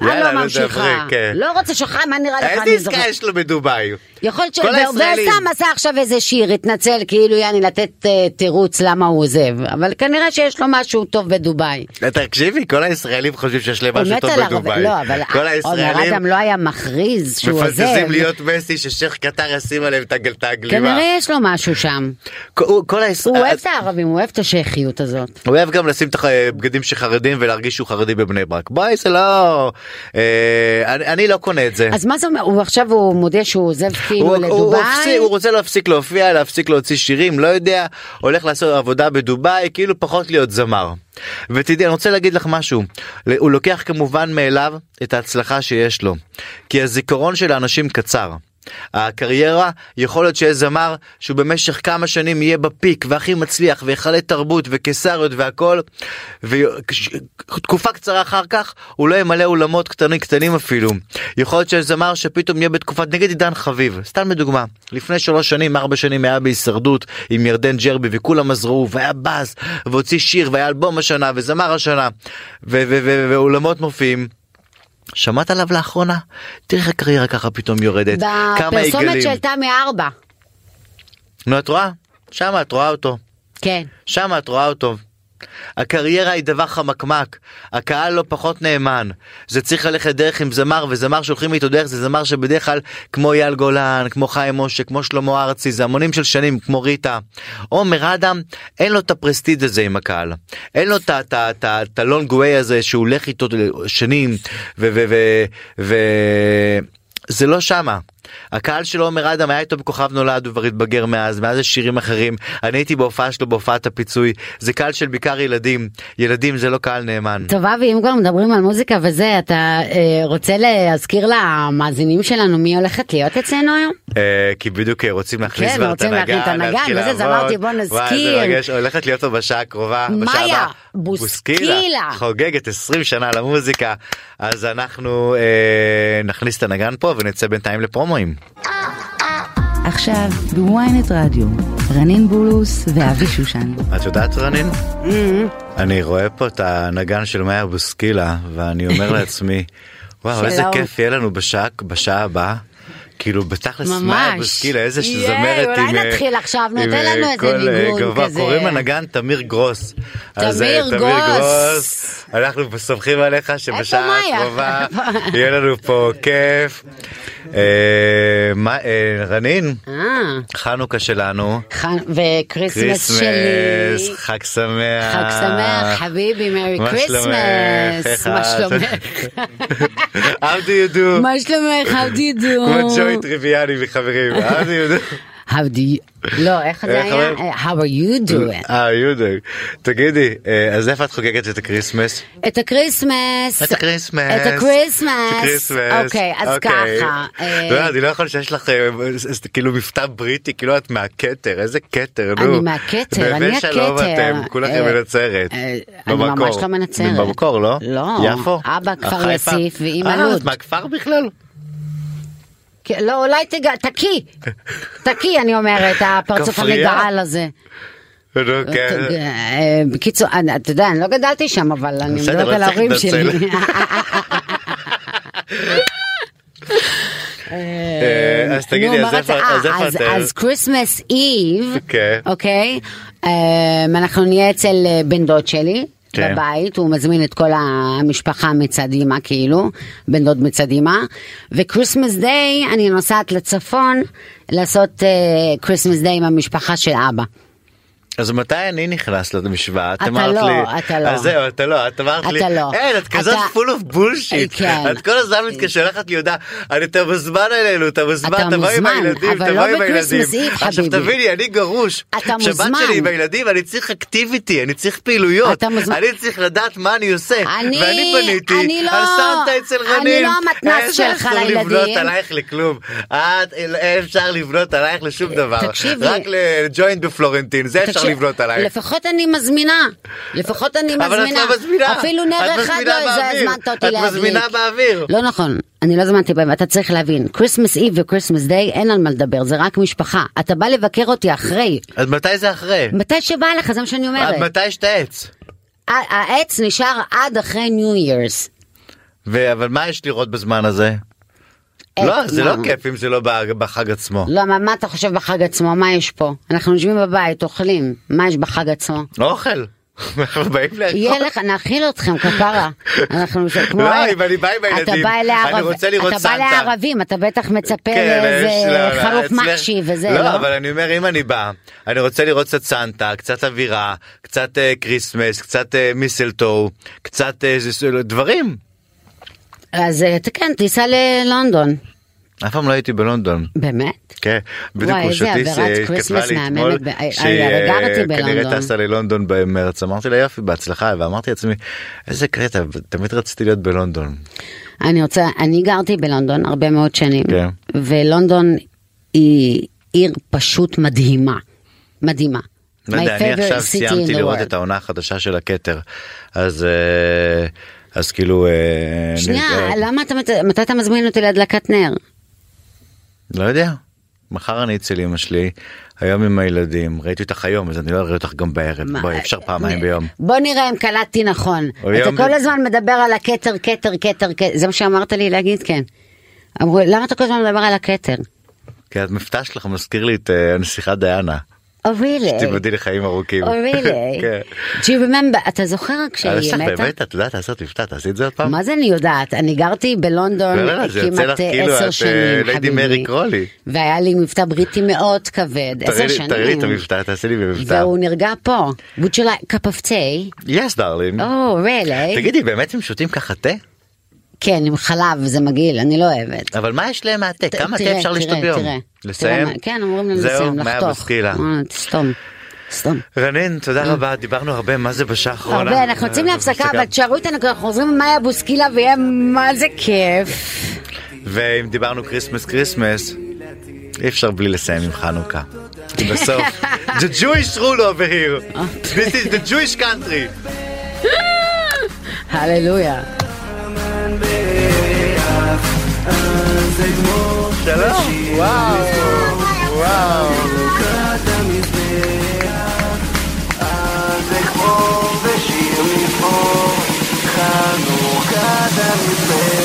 Speaker 2: אני
Speaker 3: יאללה,
Speaker 2: לא
Speaker 3: לא דברי,
Speaker 2: ממשיכה.
Speaker 3: כן.
Speaker 2: לא רוצה שלך, מה נראה לך,
Speaker 3: איזה
Speaker 2: אני זוכרת.
Speaker 3: עסקה יש לו בדובאי?
Speaker 2: יכול להיות ש...
Speaker 3: כל הישראלים.
Speaker 2: וסתם עשה עכשיו איזה שיר, התנצל, כאילו יעני לתת אה, תירוץ למה הוא עוזב, אבל כנראה שיש לו משהו טוב בדובאי.
Speaker 3: תקשיבי, כל הישראלים חושבים שיש להם משהו
Speaker 2: הוא מת
Speaker 3: טוב
Speaker 2: עליו, אבל-
Speaker 3: בדובאי.
Speaker 2: לא, אבל
Speaker 3: כל
Speaker 2: עומר
Speaker 3: הישראלים
Speaker 2: אדם לא היה מכריז שהוא עוזב.
Speaker 3: מפנטזים להיות מסי ששייח' קטר ישים עליהם את הגל- את הגלימה.
Speaker 2: כנראה יש לו משהו שם.
Speaker 3: כל- כל
Speaker 2: הוא
Speaker 3: הישראלים...
Speaker 2: אוהב את הערבים, הוא אוהב את השייחיות הזאת.
Speaker 3: הוא אוהב גם לשים את הבגדים של חרדים ולהרגיש שהוא חרדי בבני ברק. בואי זה לא... אה, אני- אני לא קונה את זה.
Speaker 2: אז מה זה אומר, הוא עכשיו הוא מודה שהוא עוזב כאילו
Speaker 3: הוא, הוא,
Speaker 2: לדובאי?
Speaker 3: הפסיק, הוא רוצה להפסיק להופיע, להפסיק להוציא שירים, לא יודע, הולך לעשות עבודה בדובאי, כאילו פחות להיות זמר. ותדעי, אני רוצה להגיד לך משהו, ל- הוא לוקח כמובן מאליו את ההצלחה שיש לו, כי הזיכרון של האנשים קצר. הקריירה יכול להיות שיש זמר שהוא במשך כמה שנים יהיה בפיק והכי מצליח ויחלט תרבות וקיסריות והכל ותקופה קצרה אחר כך הוא לא ימלא אולמות קטנים קטנים אפילו. יכול להיות שיש זמר שפתאום יהיה בתקופת נגד עידן חביב סתם לדוגמה לפני שלוש שנים ארבע שנים היה בהישרדות עם ירדן ג'רבי וכולם עזרו והיה באז והוציא שיר והיה אלבום השנה וזמר השנה ו- ו- ו- ואולמות מופיעים. שמעת עליו לאחרונה? תראי איך הקריירה ככה פתאום יורדת. כמה
Speaker 2: בפרסומת
Speaker 3: עיגלים.
Speaker 2: של תמי ארבע.
Speaker 3: נו, את רואה? שם את רואה אותו.
Speaker 2: כן.
Speaker 3: שם את רואה אותו. הקריירה היא דבר חמקמק, הקהל לא פחות נאמן. זה צריך ללכת דרך עם זמר, וזמר שהולכים איתו דרך זה זמר שבדרך כלל כמו אייל גולן, כמו חיים משה, כמו שלמה ארצי, זה המונים של שנים, כמו ריטה. עומר אדם, אין לו את הפרסטיד הזה עם הקהל. אין לו את ה- את ה- את ה- את הלונג ווי הזה שהוא הולך איתו שנים, ו... ו, ו, ו זה לא שמה. הקהל של עומר אדם היה איתו בכוכב נולד, הוא כבר התבגר מאז, מאז יש שירים אחרים. אני הייתי בהופעה שלו בהופעת הפיצוי, זה קהל של בעיקר ילדים. ילדים זה לא קהל נאמן.
Speaker 2: טוב אבי, אם כבר מדברים על מוזיקה וזה, אתה אה, רוצה להזכיר למאזינים שלנו מי הולכת להיות אצלנו היום?
Speaker 3: אה, כי בדיוק אה, רוצים להכניס
Speaker 2: כן,
Speaker 3: כבר את
Speaker 2: רוצים להכניס את
Speaker 3: הנגן,
Speaker 2: הנגן,
Speaker 3: להתחיל
Speaker 2: וזה, אז
Speaker 3: לעבוד.
Speaker 2: אמרתי, בוא נזכיר.
Speaker 3: וואי, זה מרגש, הולכת להיות פה בשעה הקרובה, בשעה
Speaker 2: מאיה
Speaker 3: הבאה.
Speaker 2: בוסקילה.
Speaker 3: חוגגת 20 שנה למוזיקה, אז אנחנו אה, נכניס את הנגן פה ונצא בינתיים לפרומואים.
Speaker 5: עכשיו בוויינט רדיו, רנין בולוס ואבי שושן.
Speaker 3: את יודעת רנין?
Speaker 2: Mm-hmm.
Speaker 3: אני רואה פה את הנגן של מאיה בוסקילה ואני אומר לעצמי וואו איזה
Speaker 2: שלום.
Speaker 3: כיף יהיה לנו בשעה בשעה הבאה כאילו בתכלס
Speaker 2: ממש.
Speaker 3: מאיה בוסקילה איזה
Speaker 2: ייי,
Speaker 3: שזמרת
Speaker 2: אולי
Speaker 3: עם, אה,
Speaker 2: נתחיל עכשיו, נותן
Speaker 3: עם, אה,
Speaker 2: לנו איזה
Speaker 3: קול, אה,
Speaker 2: ניגון
Speaker 3: גבוה.
Speaker 2: כזה.
Speaker 3: קוראים לנגן תמיר גרוס. אז, אה,
Speaker 2: תמיר גרוס.
Speaker 3: אנחנו סומכים עליך שבשעה
Speaker 2: מאיה?
Speaker 3: הקרובה יהיה לנו פה כיף. אה, מה, אה, רנין,
Speaker 2: אה,
Speaker 3: חנוכה שלנו.
Speaker 2: חנ- וכריסמס שלי.
Speaker 3: כריסמס, חג שמח.
Speaker 2: חג שמח, חביבי, מרי
Speaker 3: אה, מה שלומך?
Speaker 2: כריסמס.
Speaker 3: איך
Speaker 2: מה
Speaker 3: את?
Speaker 2: שלומך?
Speaker 3: How do you do?
Speaker 2: מה שלומך? How do you do?
Speaker 3: כמו ג'וי טריוויאלי וחברים. How do you do?
Speaker 2: How do you... לא, איך זה
Speaker 3: איך
Speaker 2: היה?
Speaker 3: אומרים?
Speaker 2: How are you doing?
Speaker 3: אה, יודק. תגידי, אה, אז איפה את חוגגת את הקריסמס?
Speaker 2: את הקריסמס.
Speaker 3: את הקריסמס.
Speaker 2: את הקריסמס.
Speaker 3: את הקריסמס.
Speaker 2: אוקיי, אז
Speaker 3: אוקיי.
Speaker 2: ככה. אה,
Speaker 3: לא, אני לא יכול שיש לך אה, אה, כאילו מבטא בריטי, כאילו את מהכתר, איזה כתר, נו.
Speaker 2: אני מהכתר, אני
Speaker 3: בבן שלום
Speaker 2: הכתר.
Speaker 3: אתם, כולכם
Speaker 2: אה,
Speaker 3: מנצרת.
Speaker 2: אה, אני
Speaker 3: במקור.
Speaker 2: ממש לא מנצרת.
Speaker 3: במקור, לא?
Speaker 2: לא.
Speaker 3: יפו? אה,
Speaker 2: אבא כפר
Speaker 3: חיפה?
Speaker 2: יאסיף ואימא
Speaker 3: אה,
Speaker 2: לוד.
Speaker 3: את מהכפר בכלל?
Speaker 2: כן, לא, אולי תגע... תקי. תקי, אני אומרת, הפרצוף
Speaker 3: כפרייה?
Speaker 2: המגעל הזה.
Speaker 3: נו, כן.
Speaker 2: אה, בקיצור, אני- אתה יודע, אני לא גדלתי שם, אבל אני
Speaker 3: בסדר,
Speaker 2: מדברת
Speaker 3: אבל
Speaker 2: על
Speaker 3: צריך
Speaker 2: ההורים
Speaker 3: להתנצל.
Speaker 2: שלי.
Speaker 3: אה, אז תגידי,
Speaker 2: נו,
Speaker 3: אז
Speaker 2: מה
Speaker 3: איפה
Speaker 2: רצה-
Speaker 3: אז
Speaker 2: אה,
Speaker 3: איפה
Speaker 2: אז-
Speaker 3: את?
Speaker 2: אז כריסמס איב,
Speaker 3: כן.
Speaker 2: אוקיי, אמ, אנחנו נהיה אצל אה, בן דוד שלי.
Speaker 3: כן.
Speaker 2: בבית הוא מזמין את כל המשפחה מצד אימא כאילו בן דוד מצד אימא וכריסמס דיי אני נוסעת לצפון לעשות כריסמס דיי עם המשפחה של אבא.
Speaker 3: אז מתי אני נכנס למשוואה? את
Speaker 2: אתה
Speaker 3: אמרת
Speaker 2: לא,
Speaker 3: לי,
Speaker 2: אתה לא.
Speaker 3: אז זהו, אתה לא, את אמרת
Speaker 2: אתה
Speaker 3: לי,
Speaker 2: לא.
Speaker 3: אין, את כזאת
Speaker 2: אתה-
Speaker 3: full of bullshit.
Speaker 2: כן.
Speaker 3: את כל הזמן מתקשרת לי הודעה, "אני- אתה מוזמן אלינו, אתה מוזמן, אתה בא עם
Speaker 2: מוזמן,
Speaker 3: הילדים,
Speaker 2: אבל
Speaker 3: אתה
Speaker 2: לא
Speaker 3: בא עם
Speaker 2: בקריסמס
Speaker 3: הילדים.
Speaker 2: איב,
Speaker 3: עכשיו
Speaker 2: חביבי.
Speaker 3: תביני, אני גרוש.
Speaker 2: אתה
Speaker 3: שבת
Speaker 2: מוזמן.
Speaker 3: שלי עם הילדים, אני צריך אקטיביטי, אני צריך פעילויות.
Speaker 2: אתה מוזמן.
Speaker 3: אני צריך לדעת מה אני עושה.
Speaker 2: אני-
Speaker 3: ואני
Speaker 2: אני
Speaker 3: פניתי
Speaker 2: לא-
Speaker 3: על סנטה אצל
Speaker 2: אני
Speaker 3: רנין.
Speaker 2: לא המתנ"ס
Speaker 3: איזה
Speaker 2: שלך
Speaker 3: אסור לבנות
Speaker 2: לילדים.
Speaker 3: עלייך לכלום. את- אין אפשר לבנות עלייך לשום דבר.
Speaker 2: אה, תקשיבי.
Speaker 3: רק לג'וינט בפלורנטין, זה אפשר
Speaker 2: תקשיב,
Speaker 3: לבנות עלייך.
Speaker 2: לפחות אני מזמינה, לפחות אני מזמינה.
Speaker 3: אבל את לא מזמינה.
Speaker 2: אפילו
Speaker 3: את
Speaker 2: נר אחד
Speaker 3: מזמינה
Speaker 2: לא
Speaker 3: באוויר.
Speaker 2: הזמנת אותי להדליק.
Speaker 3: את מזמינה באוויר.
Speaker 2: לא נכון, אני לא הזמנתי בהם, אתה צריך להבין, כריסמס איב וכריסמס דיי אין על מה לדבר, זה רק משפחה. אתה בא לבקר אותי אחרי,
Speaker 3: אז מתי זה אחרי?
Speaker 2: מתי שבא לך, זה מה
Speaker 3: אה,
Speaker 2: שאני אומרת.
Speaker 3: עד מתי יש את העץ?
Speaker 2: ה- העץ נשאר עד אחרי ניו ירס.
Speaker 3: ו- אבל מה יש לראות בזמן הזה?
Speaker 2: אה,
Speaker 3: לא, זה
Speaker 2: מה?
Speaker 3: לא כיף אם זה לא ב- בחג עצמו.
Speaker 2: לא, מה, מה אתה חושב בחג עצמו? מה יש פה? אנחנו יושבים בבית, אוכלים, מה יש בחג עצמו?
Speaker 3: לא אוכל. אנחנו באים לאכול.
Speaker 2: יהיה לך, נאכיל אתכם, כפרה. אנחנו ש- כמו... אה,
Speaker 3: לא, אם אני בא עם הילדים,
Speaker 2: אתה בא אלה
Speaker 3: אני
Speaker 2: ערב-
Speaker 3: רוצה לראות
Speaker 2: אתה
Speaker 3: סנטה.
Speaker 2: בא לערבים, אתה בטח מצפה
Speaker 3: כן, יש- לא,
Speaker 2: לאיזה
Speaker 3: לא,
Speaker 2: חלוף
Speaker 3: אצלך-
Speaker 2: מחשי וזה,
Speaker 3: לא,
Speaker 2: לא?
Speaker 3: אבל אני אומר, אם אני בא, אני רוצה לראות קצת סנטה, קצת אווירה, קצת אה, כריסמס, קצת אה, מיסלטו, קצת אה, זה- דברים.
Speaker 2: אז אה, ת- כן, תיסע ללונדון.
Speaker 3: אף פעם לא הייתי בלונדון.
Speaker 2: באמת?
Speaker 3: כן, בדיוק
Speaker 2: וואי,
Speaker 3: הוא
Speaker 2: איזה
Speaker 3: שטיס
Speaker 2: עבירת
Speaker 3: אה, כתבה
Speaker 2: כריסמס
Speaker 3: לי
Speaker 2: מהממת
Speaker 3: אתמול
Speaker 2: ב- אה, אה,
Speaker 3: שהיא
Speaker 2: אה, גרתי
Speaker 3: אה, כנראה
Speaker 2: בלונדון.
Speaker 3: טסה ללונדון במרץ. אמרתי לה יופי בהצלחה ואמרתי לעצמי איזה קטע תמיד רציתי להיות בלונדון.
Speaker 2: אני רוצה, אני גרתי בלונדון הרבה מאוד שנים,
Speaker 3: כן.
Speaker 2: ולונדון היא עיר פשוט מדהימה. מדהימה.
Speaker 3: לא
Speaker 2: My
Speaker 3: יודע, אני
Speaker 2: favorite
Speaker 3: עכשיו
Speaker 2: city in
Speaker 3: סיימתי
Speaker 2: the
Speaker 3: לראות
Speaker 2: world.
Speaker 3: את העונה החדשה של הכתר אז אה, אז כאילו אה,
Speaker 2: שנייה, לא-
Speaker 3: אני- אה,
Speaker 2: למה אתה, מת- מתי אתה מזמין אותי להדלקת נר?
Speaker 3: לא יודע. מחר אני אצל אמא שלי היום עם הילדים ראיתי אותך היום אז אני לא אראה אותך גם בערב
Speaker 2: מה- אה,
Speaker 3: בואי אפשר פעמיים ביום.
Speaker 2: בוא נראה אם קלטתי נכון.
Speaker 3: או
Speaker 2: אתה
Speaker 3: יום-
Speaker 2: כל הזמן מדבר על הכתר, כתר, כתר, כתר, זה מה שאמרת לי להגיד, כן. אמרו, למה אתה כל הזמן מדבר על הכתר?
Speaker 3: כי המבטא כן, שלך מזכיר לי את אה, הנסיכה דיאנה.
Speaker 2: או רילי.
Speaker 3: תיבדי לחיים ארוכים.
Speaker 2: או רילי.
Speaker 3: כן.
Speaker 2: Oh, Do you remember, אתה זוכר
Speaker 3: אבל יש
Speaker 2: כשהיא
Speaker 3: לך
Speaker 2: מתה?
Speaker 3: באמת, את יודעת לעשות מבטא, תעשי את זה עוד פעם.
Speaker 2: מה זה אני יודעת? אני גרתי בלונדון
Speaker 3: לא, לא, זה יוצא
Speaker 2: כמעט
Speaker 3: לך כאילו
Speaker 2: עשר
Speaker 3: את,
Speaker 2: שנים,
Speaker 3: אה, ליידי מרי
Speaker 2: חביבי.
Speaker 3: קרולי.
Speaker 2: והיה לי מבטא בריטי מאוד כבד,
Speaker 3: תראי
Speaker 2: עשר
Speaker 3: לי-
Speaker 2: שנים.
Speaker 3: תראי לי את המבטא, תעשי לי במבטא.
Speaker 2: והוא נרגע פה. would you like cup of tea?
Speaker 3: יס דרלין.
Speaker 2: או, really?
Speaker 3: תגידי, באמת הם שותים ככה תה?
Speaker 2: כן, עם חלב, זה מגעיל, אני לא אוהבת.
Speaker 3: אבל מה יש להם מהתה?
Speaker 2: ת-
Speaker 3: כמה תה
Speaker 2: תראה,
Speaker 3: אפשר לשתות
Speaker 2: תראה,
Speaker 3: ביום?
Speaker 2: תראה.
Speaker 3: לסיים?
Speaker 2: תראה מה- כן, אומרים לנו
Speaker 3: זהו,
Speaker 2: לסיים,
Speaker 3: מאיה
Speaker 2: לחתוך.
Speaker 3: בוסקילה.
Speaker 2: אה, תסתום, סתום.
Speaker 3: רנין, תודה רבה, דיברנו הרבה, מה זה בשעה האחרונה?
Speaker 2: הרבה, אנחנו יוצאים להפסקה, אבל תשארו איתנו, כי אנחנו חוזרים עם מאיה בוסקילה, ויהיה מה זה כיף.
Speaker 3: ואם דיברנו כריסמס כריסמס, אי אפשר בלי לסיים עם חנוכה. כי בסוף, the Jewish rule over here.
Speaker 2: אה.
Speaker 3: This is the Jewish country.
Speaker 2: הללויה.
Speaker 3: שלום, וואו, וואו.
Speaker 7: זה כמו בשיר מפה, חנוכת המזבח